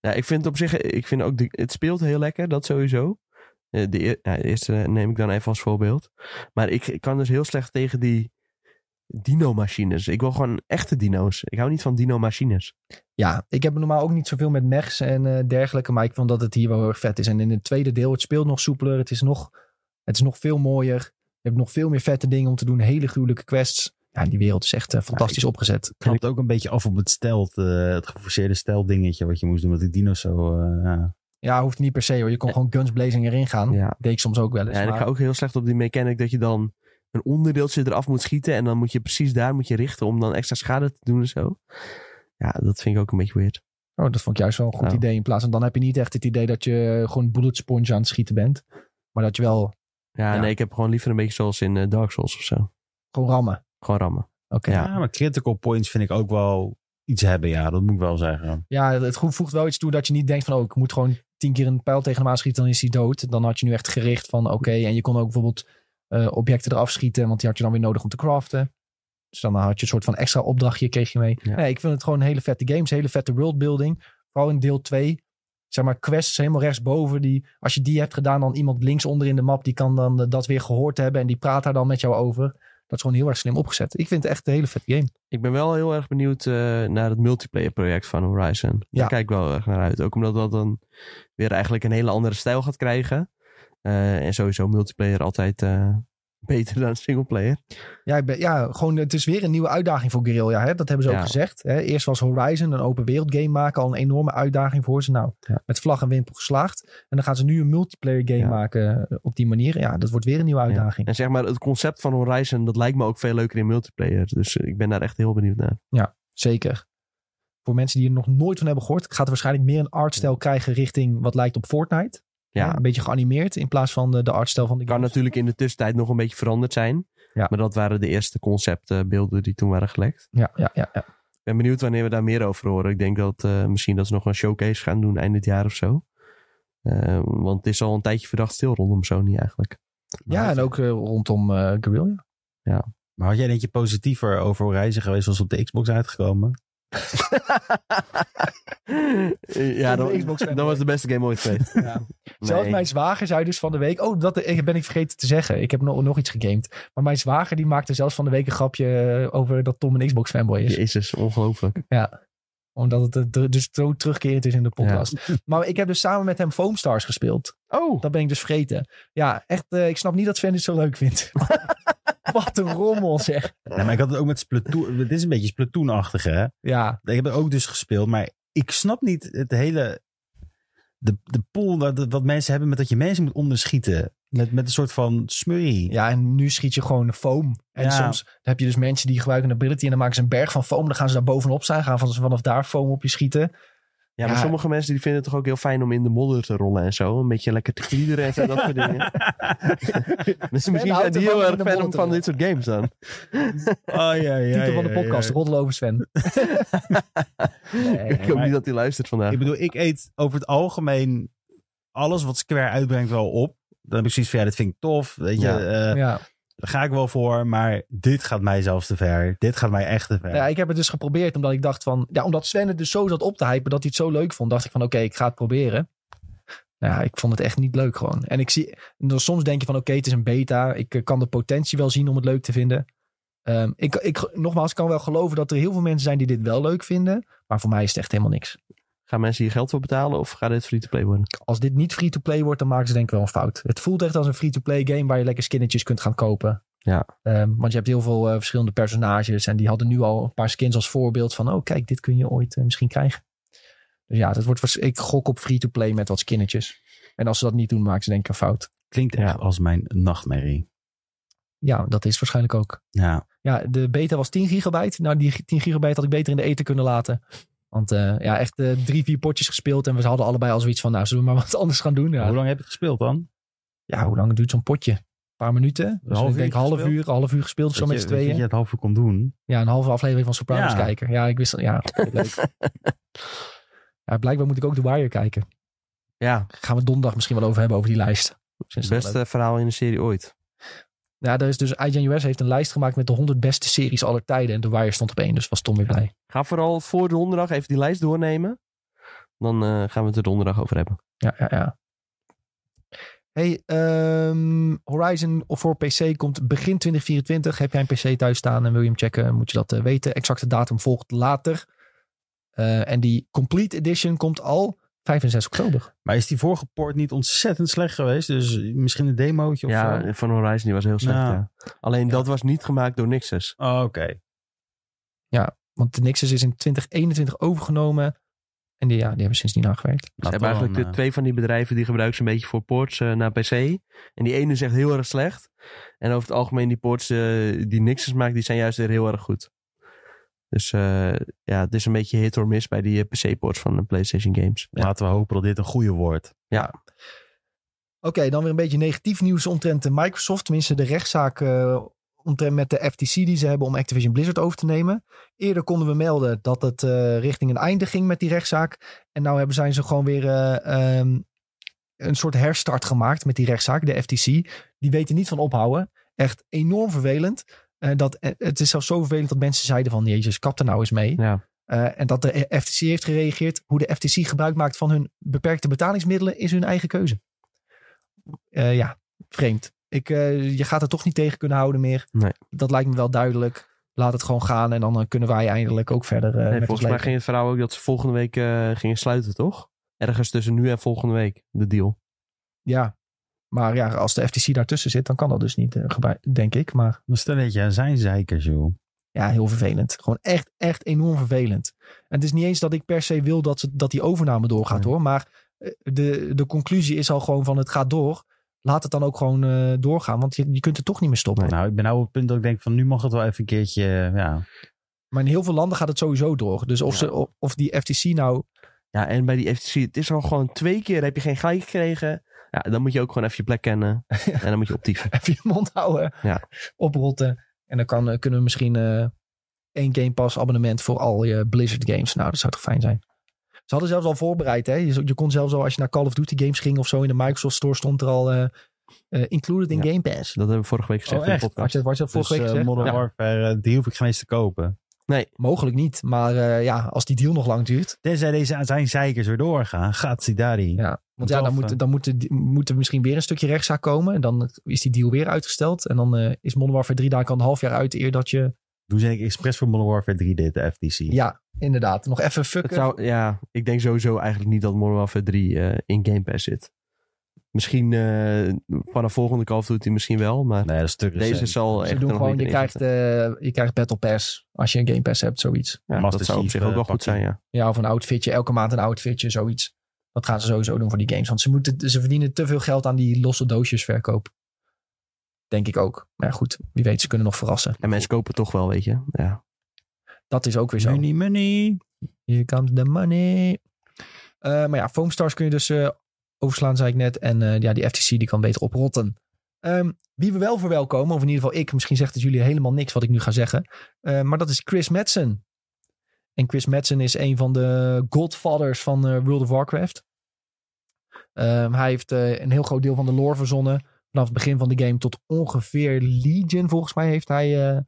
Ja, ik vind het op zich... Ik vind ook de, het speelt heel lekker, dat sowieso. Eh, De, eer- ja, de eerste neem ik dan even als voorbeeld. Maar ik, ik kan dus heel slecht tegen die dino-machines. Ik wil gewoon echte dino's. Ik hou niet van dino-machines. Ja, ik heb normaal ook niet zoveel met mechs en eh, dergelijke. Maar ik vond dat het hier wel heel erg vet is. En in het tweede deel, het speelt nog soepeler. Het is nog, het is nog veel mooier. Je hebt nog veel meer vette dingen om te doen. Hele gruwelijke quests. Ja, die wereld is echt eh, fantastisch opgezet. knapt ook een beetje af op het stelt, eh, het geforceerde steldingetje wat je moest doen met die dino's zo. eh, ja. Ja, hoeft niet per se hoor. Je kon gewoon guns blazing erin gaan. Ja. Deed ik soms ook wel eens. Ja, en ik maar- ga ook heel slecht op die mechanic dat je dan een onderdeeltje eraf moet schieten. En dan moet je precies daar moet je richten om dan extra schade te doen en zo. Ja, dat vind ik ook een beetje weird. Oh, dat vond ik juist wel een goed Oh. idee. In plaats van dan heb je niet echt het idee dat je eh, gewoon bullet sponge aan het schieten bent. Maar dat je wel Ja, Ja. nee, ik heb gewoon liever een beetje zoals in eh, Dark Souls of zo. gewoon rammen. Gewoon rammen. Oké. Ja. Ja. maar critical points vind ik ook wel iets hebben, ja, dat moet ik wel zeggen. het goed voegt wel iets toe dat je niet denkt van... oh, ik moet gewoon tien keer een pijl tegen hem aanschieten, dan is hij dood. Dan had je nu echt gericht van oké. en je kon ook bijvoorbeeld eh, objecten eraf schieten... want die had je dan weer nodig om te craften. Dus dan had je een soort van extra opdrachtje, kreeg je mee. Ja. Nee, ik vind het gewoon hele vette games, hele vette worldbuilding. Vooral in deel 2. Zeg maar quests helemaal rechtsboven. Die, als je die hebt gedaan, dan iemand linksonder in de map... die kan dan eh, dat weer gehoord hebben en die praat daar dan met jou over. Dat is gewoon heel erg slim opgezet. Ik vind het echt een hele vette game. Ik ben wel heel erg benieuwd eh, naar het multiplayer project van Horizon. Daar Ja. kijk ik wel erg naar uit. Ook omdat dat dan weer eigenlijk een hele andere stijl gaat krijgen. Eh, en sowieso multiplayer altijd eh, beter dan singleplayer. Ja, ik ben, ja, gewoon het is weer een nieuwe uitdaging voor Guerrilla. Hè? Dat hebben ze Ja. ook gezegd. Hè? Eerst was Horizon een open wereld game maken al een enorme uitdaging voor ze. Nou, Ja. met vlag en wimpel geslaagd. En dan gaan ze nu een multiplayer game Ja. maken eh, op die manier. Ja, dat wordt weer een nieuwe uitdaging. En zeg maar, het concept van Horizon, dat lijkt me ook veel leuker in multiplayer. Dus eh, ik ben daar echt heel benieuwd naar. Zeker. Voor mensen die er nog nooit van hebben gehoord, gaat er waarschijnlijk meer een artstijl krijgen richting wat lijkt op Fortnite. Ja, Hè, Een beetje geanimeerd in plaats van de, de artstijl van de kan game. natuurlijk in de tussentijd nog een beetje veranderd zijn. Ja. Maar dat waren de eerste conceptbeelden die toen waren gelekt. Ja, ja, ja, ja. Ik ben benieuwd wanneer we daar meer over horen. Ik denk dat eh, misschien dat ze nog een showcase gaan doen eind dit jaar of zo. Eh, want het is al een tijdje verdacht stil rondom Sony eigenlijk. ja en ook eh, rondom eh Guerrilla. Maar had jij denk je positiever over Horizon geweest als op de Xbox uitgekomen? Eh, ja, Ik ben dan, Xbox fanboy. dan was de beste game ooit geweest. Ja. Zelfs Nee. mijn zwager zei dus van de week... Oh, dat eh, ben ik vergeten te zeggen. Ik heb nog, nog iets gegamed. Maar mijn zwager die maakte zelfs van de week een grapje... eh, over dat Tom een Xbox fanboy is. Jezus, ongelooflijk. Omdat het eh, dr- dus zo terugkerend is in de podcast. Maar ik heb dus samen met hem Foam Stars gespeeld. Oh, Dat ben ik dus vergeten. Ja, echt. eh, ik snap niet dat Sven dit zo leuk vindt. Wat een rommel zeg. Nee, Nou, maar ik had het ook met Splatoon. Dit is een beetje Splatoon-achtig, hè? Ja, Ik heb het ook dus gespeeld, maar ik snap niet het hele. De, de pool wat, wat mensen hebben met dat je mensen moet onderschieten. Met, met een soort van smurrie. ja, en nu schiet je gewoon foam. En Ja. soms heb je dus mensen die gebruiken een ability... en dan maken ze een berg van foam. Dan gaan ze daar bovenop staan. Gaan van, vanaf daar foam op je schieten. Ja, maar Ja. sommige mensen die vinden het toch ook heel fijn om in de modder te rollen en zo. Een beetje lekker te kliederen en zo, dat soort dingen. Mensen misschien houdt zijn ervan die heel om in de erg fan modder om te van rollen. dit soort games dan. ja, Ah, ja, Titel van de podcast, roddelen over Sven. ik Nee, hoop maar- niet dat hij luistert vandaag. Ik bedoel, ik eet over het algemeen alles wat Square uitbrengt wel op. Dan heb ik zoiets van, ja, dit vind ik tof. Weet je, Ja. eh, ja. daar ga ik wel voor. Maar dit gaat mij zelfs te ver. Dit gaat mij echt te ver. Nou Ja, ik heb het dus geprobeerd omdat ik dacht van... Ja, omdat Sven het dus zo zat op te hypen dat hij het zo leuk vond. Dacht ik van oké, ik ga het proberen. Nou ja, ik vond het echt niet leuk gewoon. En ik zie... en dan Soms denk je van oké, het is een beta. Ik eh, kan de potentie wel zien om het leuk te vinden. Ehm, ik, ik, nogmaals, ik kan wel geloven dat er heel veel mensen zijn die dit wel leuk vinden. Maar voor mij is het echt helemaal niks. Gaan mensen hier geld voor betalen of gaat dit free-to-play worden? Als dit niet free-to-play wordt, dan maken ze denk ik wel een fout. Het voelt echt als een free-to-play game waar je lekker skinnetjes kunt gaan kopen. Ja. Ehm, want je hebt heel veel eh, verschillende personages. En die hadden nu al een paar skins als voorbeeld van... oh, kijk, dit kun je ooit eh, misschien krijgen. Dus ja, dat wordt, waars- ik gok op free-to-play met wat skinnetjes. En als ze dat niet doen, maken ze denk ik een fout. Klinkt echt als mijn nachtmerrie. Ja, dat is waarschijnlijk ook. Ja. Ja, de beta was 10 gigabyte. Nou, die 10 gigabyte had ik beter in de eten kunnen laten. Want eh, ja, echt eh, drie, vier potjes gespeeld. En we hadden allebei al zoiets van... nou, zullen we maar wat anders gaan doen? Ja, Hoe lang heb je het gespeeld dan? ja, hoe lang duurt zo'n potje? Een paar minuten. Dus half ik uur denk half gespeeld? uur, half uur gespeeld of zo Dat met z'n je- Dat je tweeën. het half uur kon doen. Ja, een halve aflevering van Sopranos Ja. kijken. Ja, ik wist dat. Ja, oké, leuk. ja, blijkbaar moet ik ook The Wire kijken. Ja, Gaan we donderdag misschien wel over hebben, over die lijst. Sinds het dat leuk. beste verhaal in de serie ooit. Ja, er is dus IGN US heeft een lijst gemaakt met de 100 beste series aller tijden. En The Wire stond op één, dus was Tom weer blij. Ga vooral voor donderdag even die lijst doornemen. Dan eh, gaan we het er donderdag over hebben. Ja, ja, ja. Hey, ehm, Horizon voor PC komt begin 2024. Heb jij een PC thuis staan en wil je hem checken, moet je dat eh, weten. Exacte datum volgt later. Eh, en die Complete Edition komt al 5 en 6 oktober. Maar is die vorige port niet ontzettend slecht geweest? Dus misschien een demootje of ja, zo? van Horizon die was heel slecht. Ja. ja. Alleen dat was niet gemaakt door Nixus. Oh, Oké. Want de Nexus is in 2021 overgenomen. En die, ja, die hebben sindsdien aangewerkt. Ze hebben eigenlijk eh, de twee van die bedrijven die gebruiken ze een beetje voor ports eh, naar PC. En die ene is echt heel erg slecht. En over het algemeen die ports eh, die Nixus maakt, die zijn juist weer heel erg goed. Dus eh, ja, het is een beetje hit or miss bij die eh, PC-ports van de PlayStation games. Laten we hopen dat dit een goede wordt. Oké, dan weer een beetje negatief nieuws omtrent de Microsoft. Tenminste, de rechtszaak eh, omtrent met de FTC die ze hebben om Activision Blizzard over te nemen. Eerder konden we melden dat het eh, richting een einde ging met die rechtszaak. En nou hebben, zijn ze gewoon weer eh, ehm, een soort herstart gemaakt met die rechtszaak, de FTC. Die weten niet van ophouden. Echt enorm vervelend. Eh, dat, eh, het is zelfs zo vervelend dat mensen zeiden van... Jezus, kap er nou eens mee. Ja. Eh, en dat de FTC heeft gereageerd. Hoe de FTC gebruik maakt van hun beperkte betalingsmiddelen is hun eigen keuze. Eh, ja, vreemd. Ik, eh, je gaat er toch niet tegen kunnen houden meer. Nee. Dat lijkt me wel duidelijk. Laat het gewoon gaan en dan eh, kunnen wij eindelijk ook verder. eh, Nee, met ons volgens mij leven. ging het verhaal ook dat ze volgende week eh, gingen sluiten, toch? Ergens tussen nu en volgende week, de deal. Ja, maar ja, als de FTC daartussen zit, dan kan dat dus niet, eh, gebru- denk ik. Maar Dan stel dat je aan zijn zeikers, joh. Ja, heel vervelend. Gewoon echt, echt enorm vervelend. En het is niet eens dat ik per se wil dat, ze, dat die overname doorgaat Nee. hoor. Maar eh, de, de conclusie is al gewoon van het gaat door. Laat het dan ook gewoon eh, doorgaan. Want je, je kunt het toch niet meer stoppen. Nou, ik ben nou op het punt dat ik denk van nu mag het wel even een keertje, ja. Maar in heel veel landen gaat het sowieso door. Dus of, Ja. ze, of, of die FTC nou... Ja, en bij die FTC, het is al gewoon twee keer heb je geen gelijk gekregen. Ja, dan moet je ook gewoon even je plek kennen. En dan moet je optieven. Even je mond houden. Ja. Oprotten. En dan kan, eh, kunnen we misschien eh één Game Pass abonnement voor al je Blizzard games. Nou, dat zou toch fijn zijn. Ze hadden zelfs al voorbereid. Hè? Je, zo- je kon zelfs al als je naar Call of Duty games ging of zo in de Microsoft Store stond er al eh, eh, included in Ja. Game Pass. Dat hebben we vorige week gezegd Oh, in de echt? Had podcast. je, dat- had je dat vorige dus, week eh, gezegd? Modern Ja. Warfare, eh, die hoef ik geen eens te kopen. Mogelijk niet. Maar eh, ja, als die deal nog lang duurt. Tenzij deze aan zijn zeikers weer doorgaan, gaat ze daar die. Ja. Want ja, dan, Moet af, moet, dan moet, de- moet er misschien weer een stukje rechtszaak komen. En dan eh, is die deal weer uitgesteld. En dan eh, is Modern Warfare 3 daar kan een half jaar uit eer dat je... Doen ze ik expres voor Modern Warfare 3 dit, de FTC. Ja, inderdaad. Nog even Het fucken. zou, ja, ik denk sowieso eigenlijk niet dat Modern Warfare 3 eh, in Game Pass zit. Misschien eh, vanaf volgende Call of Duty misschien wel, maar Nee, dat is te deze recent. zal echt Ze er doen nog gewoon, niet je in krijgt, zitten. eh, je krijgt Battle Pass als je een Game Pass hebt, zoiets. Ja, Master dat zou op Chief, zich ook wel eh, goed zijn, pakking. ja. Ja, of een outfitje, elke maand een outfitje, zoiets. Dat gaan ze sowieso doen voor die games. Want ze, moeten, ze verdienen te veel geld aan die losse doosjes verkoop. Denk ik ook. Maar ja, goed, wie weet, ze kunnen nog verrassen. En mensen kopen toch wel, weet je. Ja. Dat is ook weer zo. Money, money. Here comes the money. Eh, maar ja, Foamstars kun je dus eh, overslaan, zei ik net. En eh, ja, die FTC die kan beter oprotten. Ehm, wie we wel verwelkomen, of in ieder geval ik. Misschien zegt het jullie helemaal niks wat ik nu ga zeggen. eh, maar dat is Chris Madsen. En Chris Madsen is een van de godfathers van eh, World of Warcraft. Ehm, hij heeft eh, een heel groot deel van de lore verzonnen. Vanaf het begin van de game tot ongeveer Legion, volgens mij, heeft hij, eh,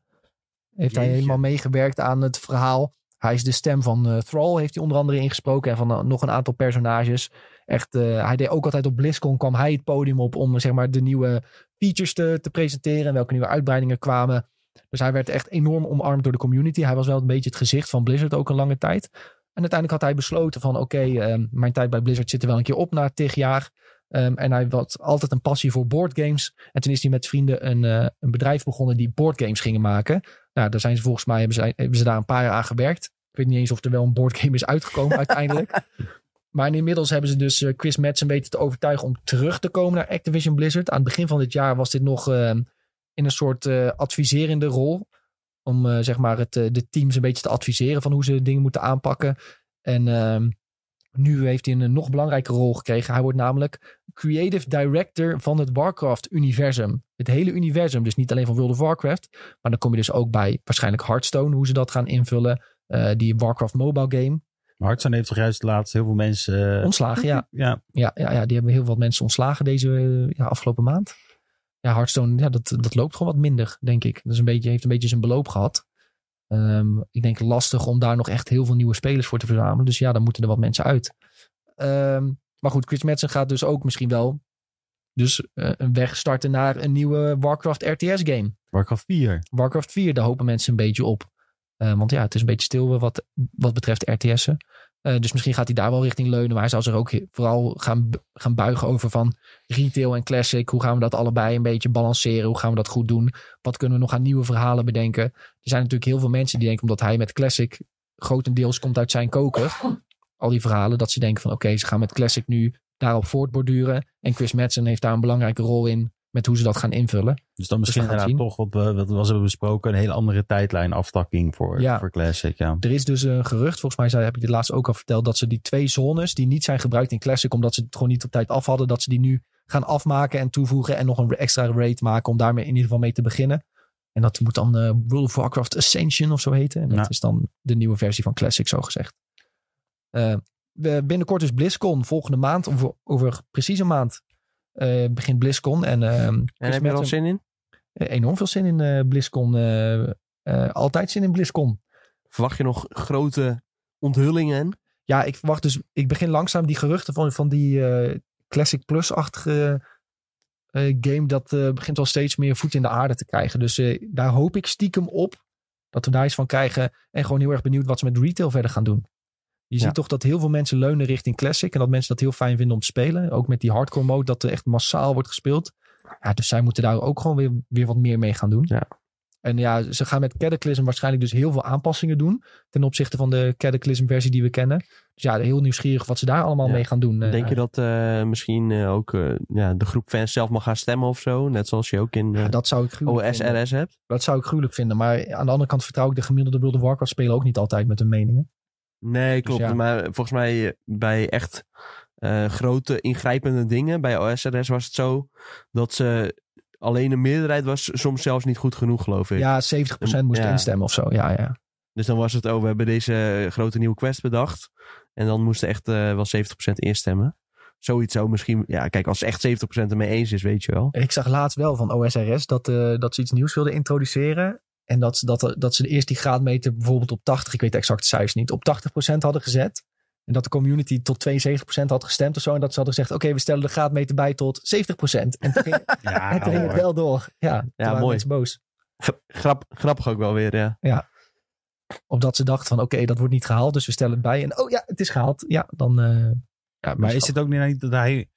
heeft hij Jeetje. helemaal meegewerkt aan het verhaal. Hij is de stem van eh Thrall, heeft hij onder andere ingesproken. En van eh, nog een aantal personages. Echt, eh, hij deed ook altijd op BlizzCon, kwam hij het podium op om zeg maar, de nieuwe features te, te presenteren. En welke nieuwe uitbreidingen kwamen. Dus hij werd echt enorm omarmd door de community. Hij was wel een beetje het gezicht van Blizzard ook een lange tijd. En uiteindelijk had hij besloten van oké, ehm, mijn tijd bij Blizzard zit er wel een keer op na tig jaar. Ehm, en hij had altijd een passie voor boardgames. En toen is hij met vrienden een, eh, een bedrijf begonnen die boardgames gingen maken. Nou, daar zijn ze volgens mij, hebben ze, hebben ze daar een paar jaar aan gewerkt. Ik weet niet eens of er wel een boardgame is uitgekomen uiteindelijk. Maar inmiddels hebben ze dus eh, Chris Madsen weten te overtuigen om terug te komen naar Activision Blizzard. Aan het begin van dit jaar was dit nog ehm, in een soort eh, adviserende rol. Om eh, zeg maar het, eh, de teams een beetje te adviseren van hoe ze dingen moeten aanpakken. En ehm, nu heeft hij een nog belangrijke rol gekregen. Hij wordt namelijk creative director van het Warcraft-universum. Het hele universum, dus niet alleen van World of Warcraft. Maar dan kom je dus ook bij waarschijnlijk Hearthstone, hoe ze dat gaan invullen. Eh, die Warcraft mobile game. Maar Hartson heeft toch juist laatst heel veel mensen... eh, Ontslagen, ja. ja, Ja, ja, ja, die hebben heel wat mensen ontslagen deze eh, ja, afgelopen maand. Ja, Hearthstone, ja, dat, dat loopt gewoon wat minder, denk ik. Dat is een beetje, heeft een beetje zijn beloop gehad. Ehm, ik denk lastig om daar nog echt heel veel nieuwe spelers voor te verzamelen. Dus ja, dan moeten er wat mensen uit. Ehm, maar goed, Chris Madsen gaat dus ook misschien wel dus, eh, een weg starten naar een nieuwe Warcraft RTS game. Warcraft 4. Warcraft 4, daar hopen mensen een beetje op. Eh, want ja, het is een beetje stil wat, wat betreft RTS'en. Eh, dus misschien gaat hij daar wel richting leunen. Maar hij zal zich ook he- vooral gaan, bu- gaan buigen over van retail en classic. Hoe gaan we dat allebei een beetje balanceren? Hoe gaan we dat goed doen? Wat kunnen we nog aan nieuwe verhalen bedenken? Er zijn natuurlijk heel veel mensen die denken, omdat hij met classic grotendeels komt uit zijn koker. Al die verhalen, dat ze denken van oké, ze gaan met classic nu daarop voortborduren. En Chris Madsen heeft daar een belangrijke rol in met hoe ze dat gaan invullen. Dus dan misschien we gaan het inderdaad toch, wat we, wat we hebben besproken, een hele andere tijdlijn aftakking voor, Ja. voor Classic. Ja. Er is dus een gerucht, volgens mij zei, heb ik dit laatst ook al verteld, dat ze die twee zones die niet zijn gebruikt in Classic, omdat ze het gewoon niet op tijd af hadden, dat ze die nu gaan afmaken en toevoegen en nog een extra raid maken om daarmee in ieder geval mee te beginnen. En dat moet dan eh, World of Warcraft Ascension of zo heten. En dat Ja. is dan de nieuwe versie van Classic, zo gezegd. Eh, we- binnenkort is BlizzCon volgende maand, over, over precies een maand, eh, begint BlizzCon. En, ehm, En Chris heb je er al Madsen- zin in? Enorm veel zin in eh BlizzCon. eh, eh, altijd zin in BlizzCon. Verwacht je nog grote onthullingen? ja, ik verwacht dus. Ik begin langzaam die geruchten van, van die eh, Classic Plus-achtige eh, game. Dat eh, begint al steeds meer voet in de aarde te krijgen. Dus eh, daar hoop ik stiekem op dat we daar iets van krijgen. En gewoon heel erg benieuwd wat ze met retail verder gaan doen. Je Ja. ziet toch dat heel veel mensen leunen richting Classic. En dat mensen dat heel fijn vinden om te spelen. Ook met die hardcore mode, dat er echt massaal wordt gespeeld. Ja, dus zij moeten daar ook gewoon weer, weer wat meer mee gaan doen. Ja. En ja, ze gaan met Cataclysm waarschijnlijk dus heel veel aanpassingen doen. Ten opzichte van de Cataclysm versie die we kennen. Dus ja, heel nieuwsgierig wat ze daar allemaal Ja. mee gaan doen. eh, Denk je dat eh, misschien eh, ook eh, ja, de groep fans zelf mag gaan stemmen of zo? Net zoals je ook in eh, Ja, dat zou ik gruwelijk vinden. OSRS hebt. Dat zou ik gruwelijk vinden. Maar aan de andere kant vertrouw ik de gemiddelde World of Warcraft speler ook niet altijd met hun meningen. Nee, klopt. dus ja. Maar volgens mij eh, bij echt eh, grote ingrijpende dingen, bij OSRS was het zo dat ze alleen een meerderheid was soms zelfs niet goed genoeg, geloof ik. Ja, 70% moest Ja. instemmen of zo. Ja, ja. Dus dan was het, oh, we hebben deze grote nieuwe quest bedacht. En dan moesten echt eh, wel 70% instemmen. Zoiets zou misschien, ja, kijk, als echt 70% ermee eens is, weet je wel. Ik zag laatst wel van OSRS dat, eh, dat ze iets nieuws wilden introduceren. En dat, ze- dat, er- dat ze eerst die graadmeter bijvoorbeeld op 80, ik weet de exacte cijfers niet, op 80% hadden gezet. En dat de community tot 72% had gestemd of zo. En dat ze hadden gezegd, oké, we stellen de graadmeter bij tot 70%. En toen ging, Ja, en toen ging het hoor. wel door. Ja, toen waren mooi. mensen boos. Grap, grappig ook wel weer, ja. Omdat ze dachten van, oké, dat wordt niet gehaald, dus we stellen het bij. En oh ja, het is gehaald. Ja, dan... eh, ja, Maar is het ook niet- niet dat hij,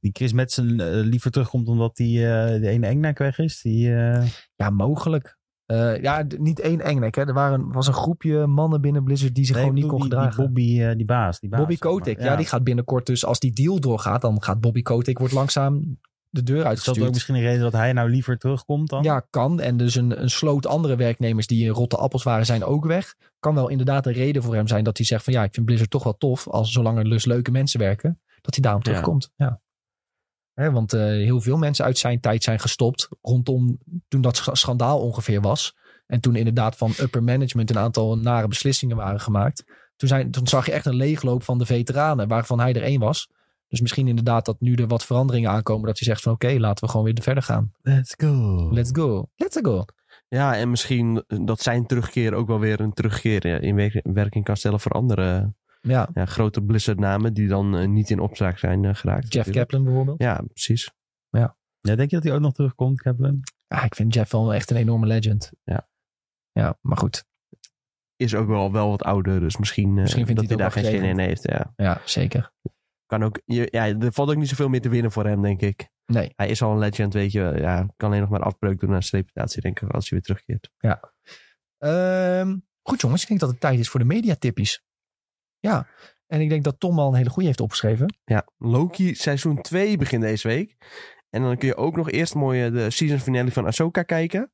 die Chris Madsen, eh, liever terugkomt omdat die, eh, de ene engnek weg is? Die, eh, Ja, mogelijk. Eh, ja, d- niet één engnek. Hè. Er waren, was een groepje mannen binnen Blizzard die zich nee, gewoon ik niet bedoel, kon die- gedragen. Die Bobby, eh, die baas. Die baas Bobby zeg maar. Kotick, ja. die gaat binnenkort dus, als die deal doorgaat, dan gaat Bobby Kotick wordt langzaam de deur Is dat ook uitgestuurd. misschien een reden dat hij nou liever terugkomt dan? Ja, kan. En dus een, een sloot andere werknemers die in rotte appels waren, zijn ook weg. Kan wel inderdaad een reden voor hem zijn dat hij zegt van ja, ik vind Blizzard toch wel tof. Als zolang er dus leuke mensen werken, dat hij daarom Ja. terugkomt. Ja. Hè, want eh, heel veel mensen uit zijn tijd zijn gestopt rondom toen dat scha- schandaal ongeveer was. En toen inderdaad van upper management een aantal nare beslissingen waren gemaakt. Toen, zijn, toen zag je echt een leegloop van de veteranen, waarvan hij er één was. Dus misschien inderdaad dat nu er wat veranderingen aankomen. Dat hij zegt van oké, laten we gewoon weer verder gaan. Let's go. Let's go. Let's go. Ja, en misschien dat zijn terugkeer ook wel weer een terugkeer eh, in werk- werking kan stellen voor andere Ja. ja, grote Blizzard-namen die dan eh, niet in opspraak zijn eh, geraakt. Jeff natuurlijk. Kaplan bijvoorbeeld. Ja, precies. Ja, denk je dat hij ook nog terugkomt, Kaplan? Ja, Ah, ik vind Jeff wel echt een enorme legend. Ja. Ja, maar goed. Is ook wel, wel wat ouder, dus misschien, eh, Misschien vindt dat hij hij het daar ook geen wel zin in heeft. Ja. Ja, zeker. Kan ook, je- ja, er valt ook niet zoveel meer te winnen voor hem, denk ik. Nee. Hij is al een legend, weet je. wel. Ja, kan alleen nog maar afbreuk doen aan zijn reputatie, denk ik, als hij weer terugkeert. Ehm, goed jongens, ik denk dat het tijd is voor de mediatippies. Ja. En ik denk dat Tom al een hele goede heeft opgeschreven. Ja, Loki seizoen 2 begint deze week. En dan kun je ook nog eerst mooi eh, de season finale van Ahsoka kijken.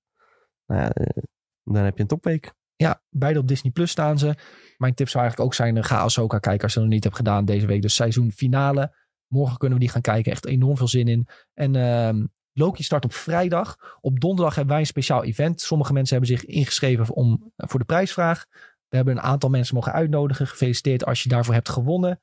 Nou, ja, eh, dan heb je een topweek. Ja, beide op Disney Plus staan ze. Mijn tip zou eigenlijk ook zijn, eh, ga Ahsoka kijken als je dat nog niet hebt gedaan deze week. Dus seizoen finale. Morgen kunnen we die gaan kijken. Echt enorm veel zin in. En ehm, Loki start op vrijdag. Op donderdag hebben wij een speciaal event. Sommige mensen hebben zich ingeschreven om, eh, voor de prijsvraag. We hebben een aantal mensen mogen uitnodigen. Gefeliciteerd als je daarvoor hebt gewonnen.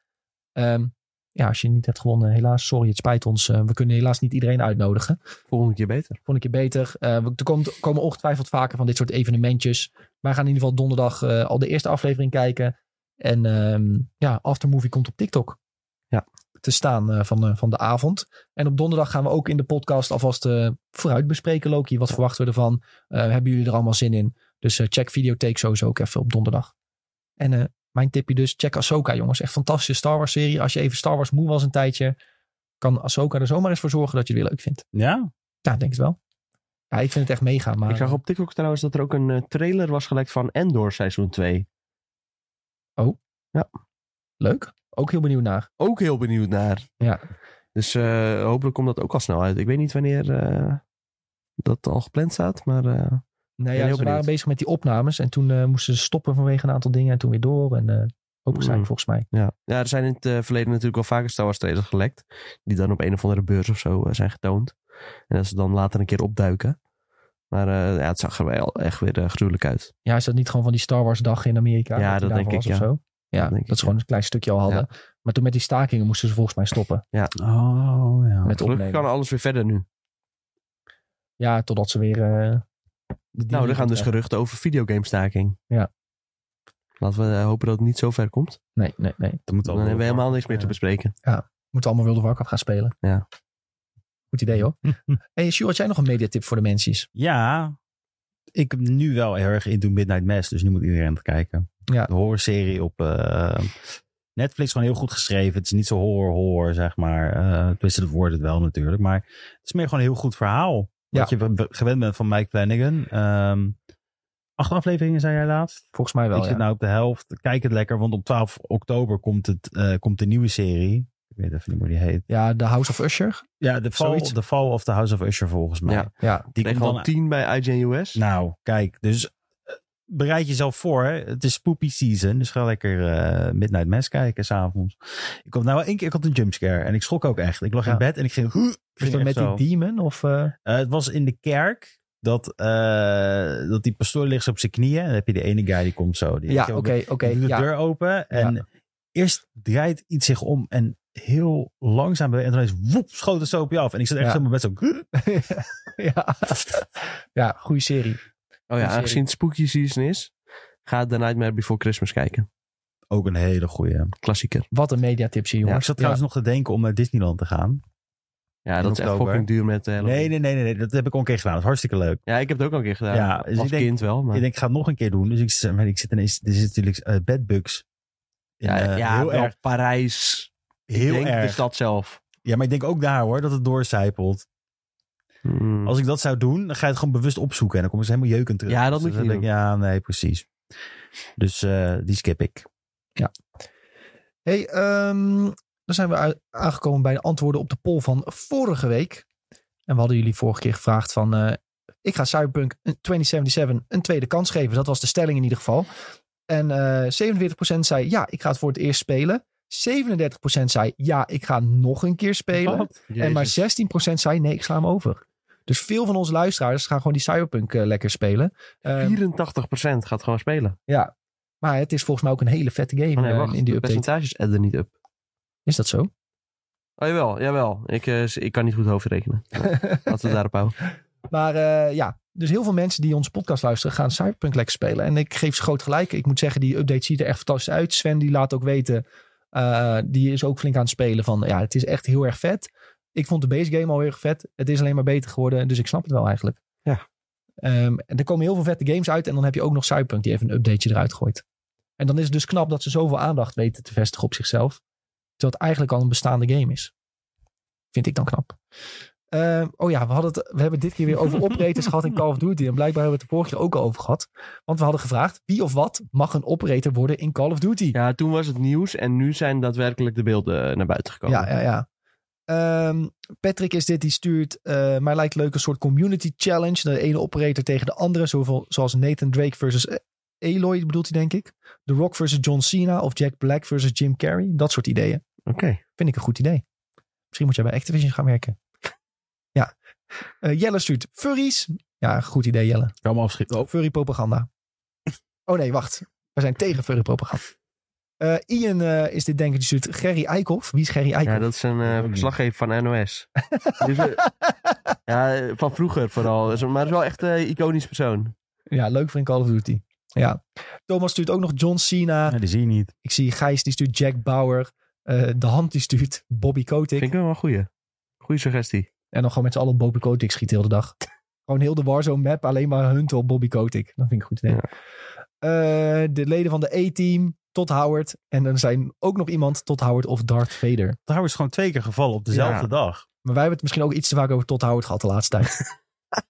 Ehm, ja, als je niet hebt gewonnen, helaas. Sorry, het spijt ons. Eh, we kunnen helaas niet iedereen uitnodigen Volgende keer beter. vond ik je beter. Eh, we- er komt, komen ongetwijfeld vaker van dit soort evenementjes. Wij gaan in ieder geval donderdag eh, al de eerste aflevering kijken. En ehm ja, Aftermovie komt op TikTok Ja. te staan eh, van, eh, van de avond. En op donderdag gaan we ook in de podcast alvast eh, vooruit bespreken, Loki. Wat verwachten we ervan? Eh, hebben jullie er allemaal zin in? Dus eh, check Videotheek sowieso ook even op donderdag. En eh, mijn tipje dus, check Ahsoka jongens. Echt fantastische Star Wars serie. Als je even Star Wars moe was een tijdje, kan Ahsoka er zomaar eens voor zorgen dat je het weer leuk vindt. Ja. Ja, ik denk het wel. Ja, ik vind het echt mega, maar... Ik zag op TikTok trouwens dat er ook een eh, trailer was gelekt van Endor seizoen 2. Leuk. Ook heel benieuwd naar. Ook heel benieuwd naar. Ja. Dus eh, hopelijk komt dat ook al snel uit. Ik weet niet wanneer eh, dat al gepland staat, maar eh, Nou heel ja, ze waren benieuwd. bezig met die opnames en toen eh, moesten ze stoppen vanwege een aantal dingen en toen weer door en eh open zijn Mm. volgens mij. ja. ja, er zijn in het eh, verleden natuurlijk al vaker Star Wars trailers gelekt. Die dan op een of andere beurs of zo eh, zijn getoond. En dat ze dan later een keer opduiken. Maar eh, ja, het zag er wel echt weer eh, gruwelijk uit. Ja, is dat niet gewoon van die Star Wars dag in Amerika? Ja, die dat daarvoor denk ik, was ja. Of zo? Ja, Dat dat, denk ik, ze gewoon een klein stukje al hadden. Maar toen met die stakingen moesten ze volgens mij stoppen Oh, ja. met Nou, Gelukkig opnemen. kan alles weer verder nu. Ja, totdat ze weer... eh, de Nou, deal er gaan dus krijgen. geruchten over videogamestaking. Ja. Laten we eh, hopen dat het niet zo ver komt. Nee, nee, nee. Dan, moet Dan allemaal hebben we wel- helemaal niks meer te Ja. bespreken. Moeten allemaal World of Warcraft gaan spelen. Ja. Goed idee hoor. hey, Sjoerd, had jij nog een mediatip voor de mensies? Ja, ik ben nu wel heel erg into Midnight Mass, dus nu moet iedereen het kijken. Ja. De horrorserie op eh, Netflix, gewoon heel goed geschreven. Het is niet zo horror, horror, zeg maar. Eh tenminste, dat wordt het wel natuurlijk, maar het is meer gewoon een heel goed verhaal. Ja. Wat je w- w- gewend bent van Mike Flanagan. Ehm, acht afleveringen zijn jij laatst? Volgens mij wel, ik zit ja. nou op de helft. Kijk het lekker, want op 12 oktober komt, het, eh, komt de nieuwe serie. Ik weet even niet hoe die heet. Ja, de House of Usher. Ja, The Fall, Zoiets. the fall of the House of Usher volgens mij. Ja. Ja, Die Ik komt gewoon dan 10 bij IGN US. nou, kijk, dus eh, bereid jezelf voor. Hè. Het is spoopy season, dus ga lekker eh, Midnight Mass kijken s'avonds. Ik had nou wel één keer ik had een jumpscare en ik schrok ook echt. Ik lag Ja. in bed en ik ging... Huh, ik is ging dat echt met zo. die demon of... eh, Eh, het was in de kerk dat, eh, dat die pastoor ligt zo op zijn knieën. En dan heb je de ene guy die komt zo. Die Ja, die- oké, oké. die doet de ja. deur open en eerst draait iets zich om en heel langzaam beweegt. En dan is woep, schoot het zo op je af. En ik zat echt Ja. zo helemaal best zo... huh. ja. ja, goede serie. Oh ja, serie. aangezien het spooky season is, ga The Nightmare Before Christmas kijken. Ook een hele goeie. Klassieker. Wat een mediatipje, Ja, jongens. ik zat trouwens nog te denken om naar Disneyland te gaan. Ja, In dat is echt oktober. fucking duur met... eh, Nee, nee, nee, nee, nee, Dat heb ik al een keer gedaan. Dat is hartstikke leuk. Ja, ik heb het ook al een keer gedaan. Ja, dus Als ik denk- kind wel, maar... Ik denk, ik ga het nog een keer doen. Dus ik, z- maar ik zit ineens... Er zit natuurlijk eh, bedbugs. In, ja, eh, ja, heel wel erg. Parijs. Heel denk dus de erg. stad zelf. Ja, maar ik denk ook daar hoor, dat het doorcijpelt. Hmm. Als ik dat zou doen, dan ga je het gewoon bewust opzoeken. En dan kom je helemaal jeukend terug. Ja, dat Dus moet je dan niet denk ik, Ja, nee, precies. Dus eh, die skip ik. hey, ehm, dan zijn we a- aangekomen bij de antwoorden op de poll van vorige week. En we hadden jullie vorige keer gevraagd van... eh, ik ga Cyberpunk een 2077 een tweede kans geven. Dat was de stelling in ieder geval. En eh 47% zei ja, ik ga het voor het eerst spelen. 37% zei ja, ik ga nog een keer spelen. En maar 16% zei nee, ik sla hem over. Dus veel van onze luisteraars gaan gewoon die Cyberpunk eh, lekker spelen. Ehm, 84% gaat gewoon spelen. ja. Maar het is volgens mij ook een hele vette game Oh nee, eh, wacht. in die De update. percentages adden niet up. Is dat zo? Oh, jawel, jawel. Ik, eh, ik kan niet goed hoofdrekenen. Maar Laten we daarop houden. Maar eh, ja, dus heel veel mensen die onze podcast luisteren gaan Cyberpunk lekker spelen. En ik geef ze groot gelijk. Ik moet zeggen, die update ziet er echt fantastisch uit. Sven die laat ook weten, eh, die is ook flink aan het spelen van ja, het is echt heel erg vet. Ik vond de base game al heel erg vet. Het is alleen maar beter geworden, dus ik snap het wel eigenlijk. Ja. Ehm, en er komen heel veel vette games uit en dan heb je ook nog Cyberpunk die even een updateje eruit gooit. En dan is het dus knap dat ze zoveel aandacht weten te vestigen op zichzelf. Terwijl het eigenlijk al een bestaande game is. Vind ik dan knap. Ehm, oh ja, we, hadden het, we hebben dit keer weer over operators gehad in Call of Duty. En blijkbaar hebben we het de vorige keer ook al over gehad. Want we hadden gevraagd, wie of wat mag een operator worden in Call of Duty? Ja, toen was het nieuws en nu zijn daadwerkelijk de beelden eh, naar buiten gekomen. Ja, ja, ja. Ehm, Patrick is dit, die stuurt. eh mij lijkt leuk een soort community challenge. De ene operator tegen de andere. Zoveel, zoals Nathan Drake versus eh, Aloy bedoelt hij, denk ik. The Rock versus John Cena. Of Jack Black versus Jim Carrey. Dat soort ideeën. Oké. Vind ik een goed idee. Misschien moet jij bij Activision gaan werken. ja. Eh, Jelle stuurt furries. Ja, goed idee, Jelle. Kan me afschieten. Oh, Furry propaganda. Oh nee, wacht. We zijn tegen furry propaganda. Eh, Ian eh, is dit denk ik, die stuurt Gerry Eikhoff. Wie is Gerry Eikhoff? Ja, dat is een eh, ook niet. verslaggever van NOS. Dus, eh, ja, eh, van vroeger vooral. Dus- Maar is wel echt een iconisch persoon. Ja, leuk voor in Call of Duty. Ja. Thomas stuurt ook nog John Cena. ja, die zie je niet. Ik zie Gijs, die stuurt Jack Bauer. Eh, de Hand, die stuurt Bobby Kotick. Vind ik wel een goeie. Goeie suggestie. En dan gewoon met z'n allen op Bobby Kotick schiet heel de dag. gewoon heel de Warzone map, alleen maar hunten op Bobby Kotick. Dat vind ik goed idee. Ja. Eh, de leden van de A-team, tot Howard. En dan zijn ook nog iemand, tot Howard of Darth Vader. Daar is gewoon twee keer gevallen op dezelfde Ja. dag. Maar wij hebben het misschien ook iets te vaak over tot Howard gehad de laatste tijd.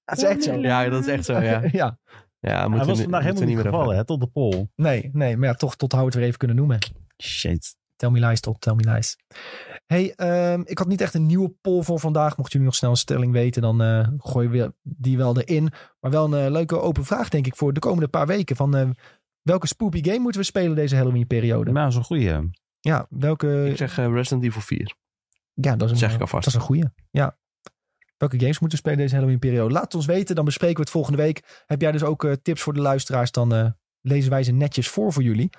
dat is echt zo. Ja, dat is echt zo, ja. ja. ja Hij moeten was we- vandaag helemaal moeten we niet meer over gevallen, hè, tot de pol. Nee, nee, maar ja, toch tot Howard weer even kunnen noemen. Shit. Tel me lies op, tel me lies. Hey, ehm, ik had niet echt een nieuwe poll voor vandaag. Mochten jullie nog snel een stelling weten, dan eh gooien we die wel erin. Maar wel een eh, leuke open vraag, denk ik, voor de komende paar weken. Van eh, welke spoopy game moeten we spelen deze Halloween-periode? Nou, zo'n goeie. Ja, welke. Ik zeg eh, Resident Evil 4. Ja, dat is een, eh, zeg ik alvast. Dat is een goeie. Ja. Welke games moeten we spelen deze Halloween-periode? Laat het ons weten, dan bespreken we het volgende week. Heb jij dus ook eh, tips voor de luisteraars? Dan eh, lezen wij ze netjes voor voor jullie.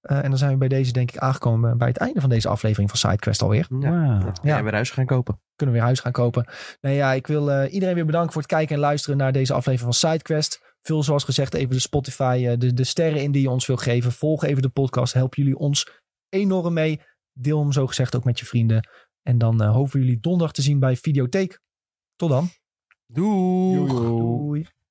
Eh, en dan zijn we bij deze, denk ik, aangekomen eh, bij het einde van deze aflevering van SideQuest alweer. Ja. Wauw. Ja, weer huis gaan kopen. kunnen we weer huis gaan kopen. Nee, ja, ik wil eh, iedereen weer bedanken voor het kijken en luisteren naar deze aflevering van SideQuest. Vul zoals gezegd even de Spotify, eh, de, de sterren in die je ons wil geven. Volg even de podcast. Help jullie ons enorm mee. Deel hem zo gezegd ook met je vrienden. En dan eh, hopen we jullie donderdag te zien bij Videotheek. Tot dan. Doei. Doei.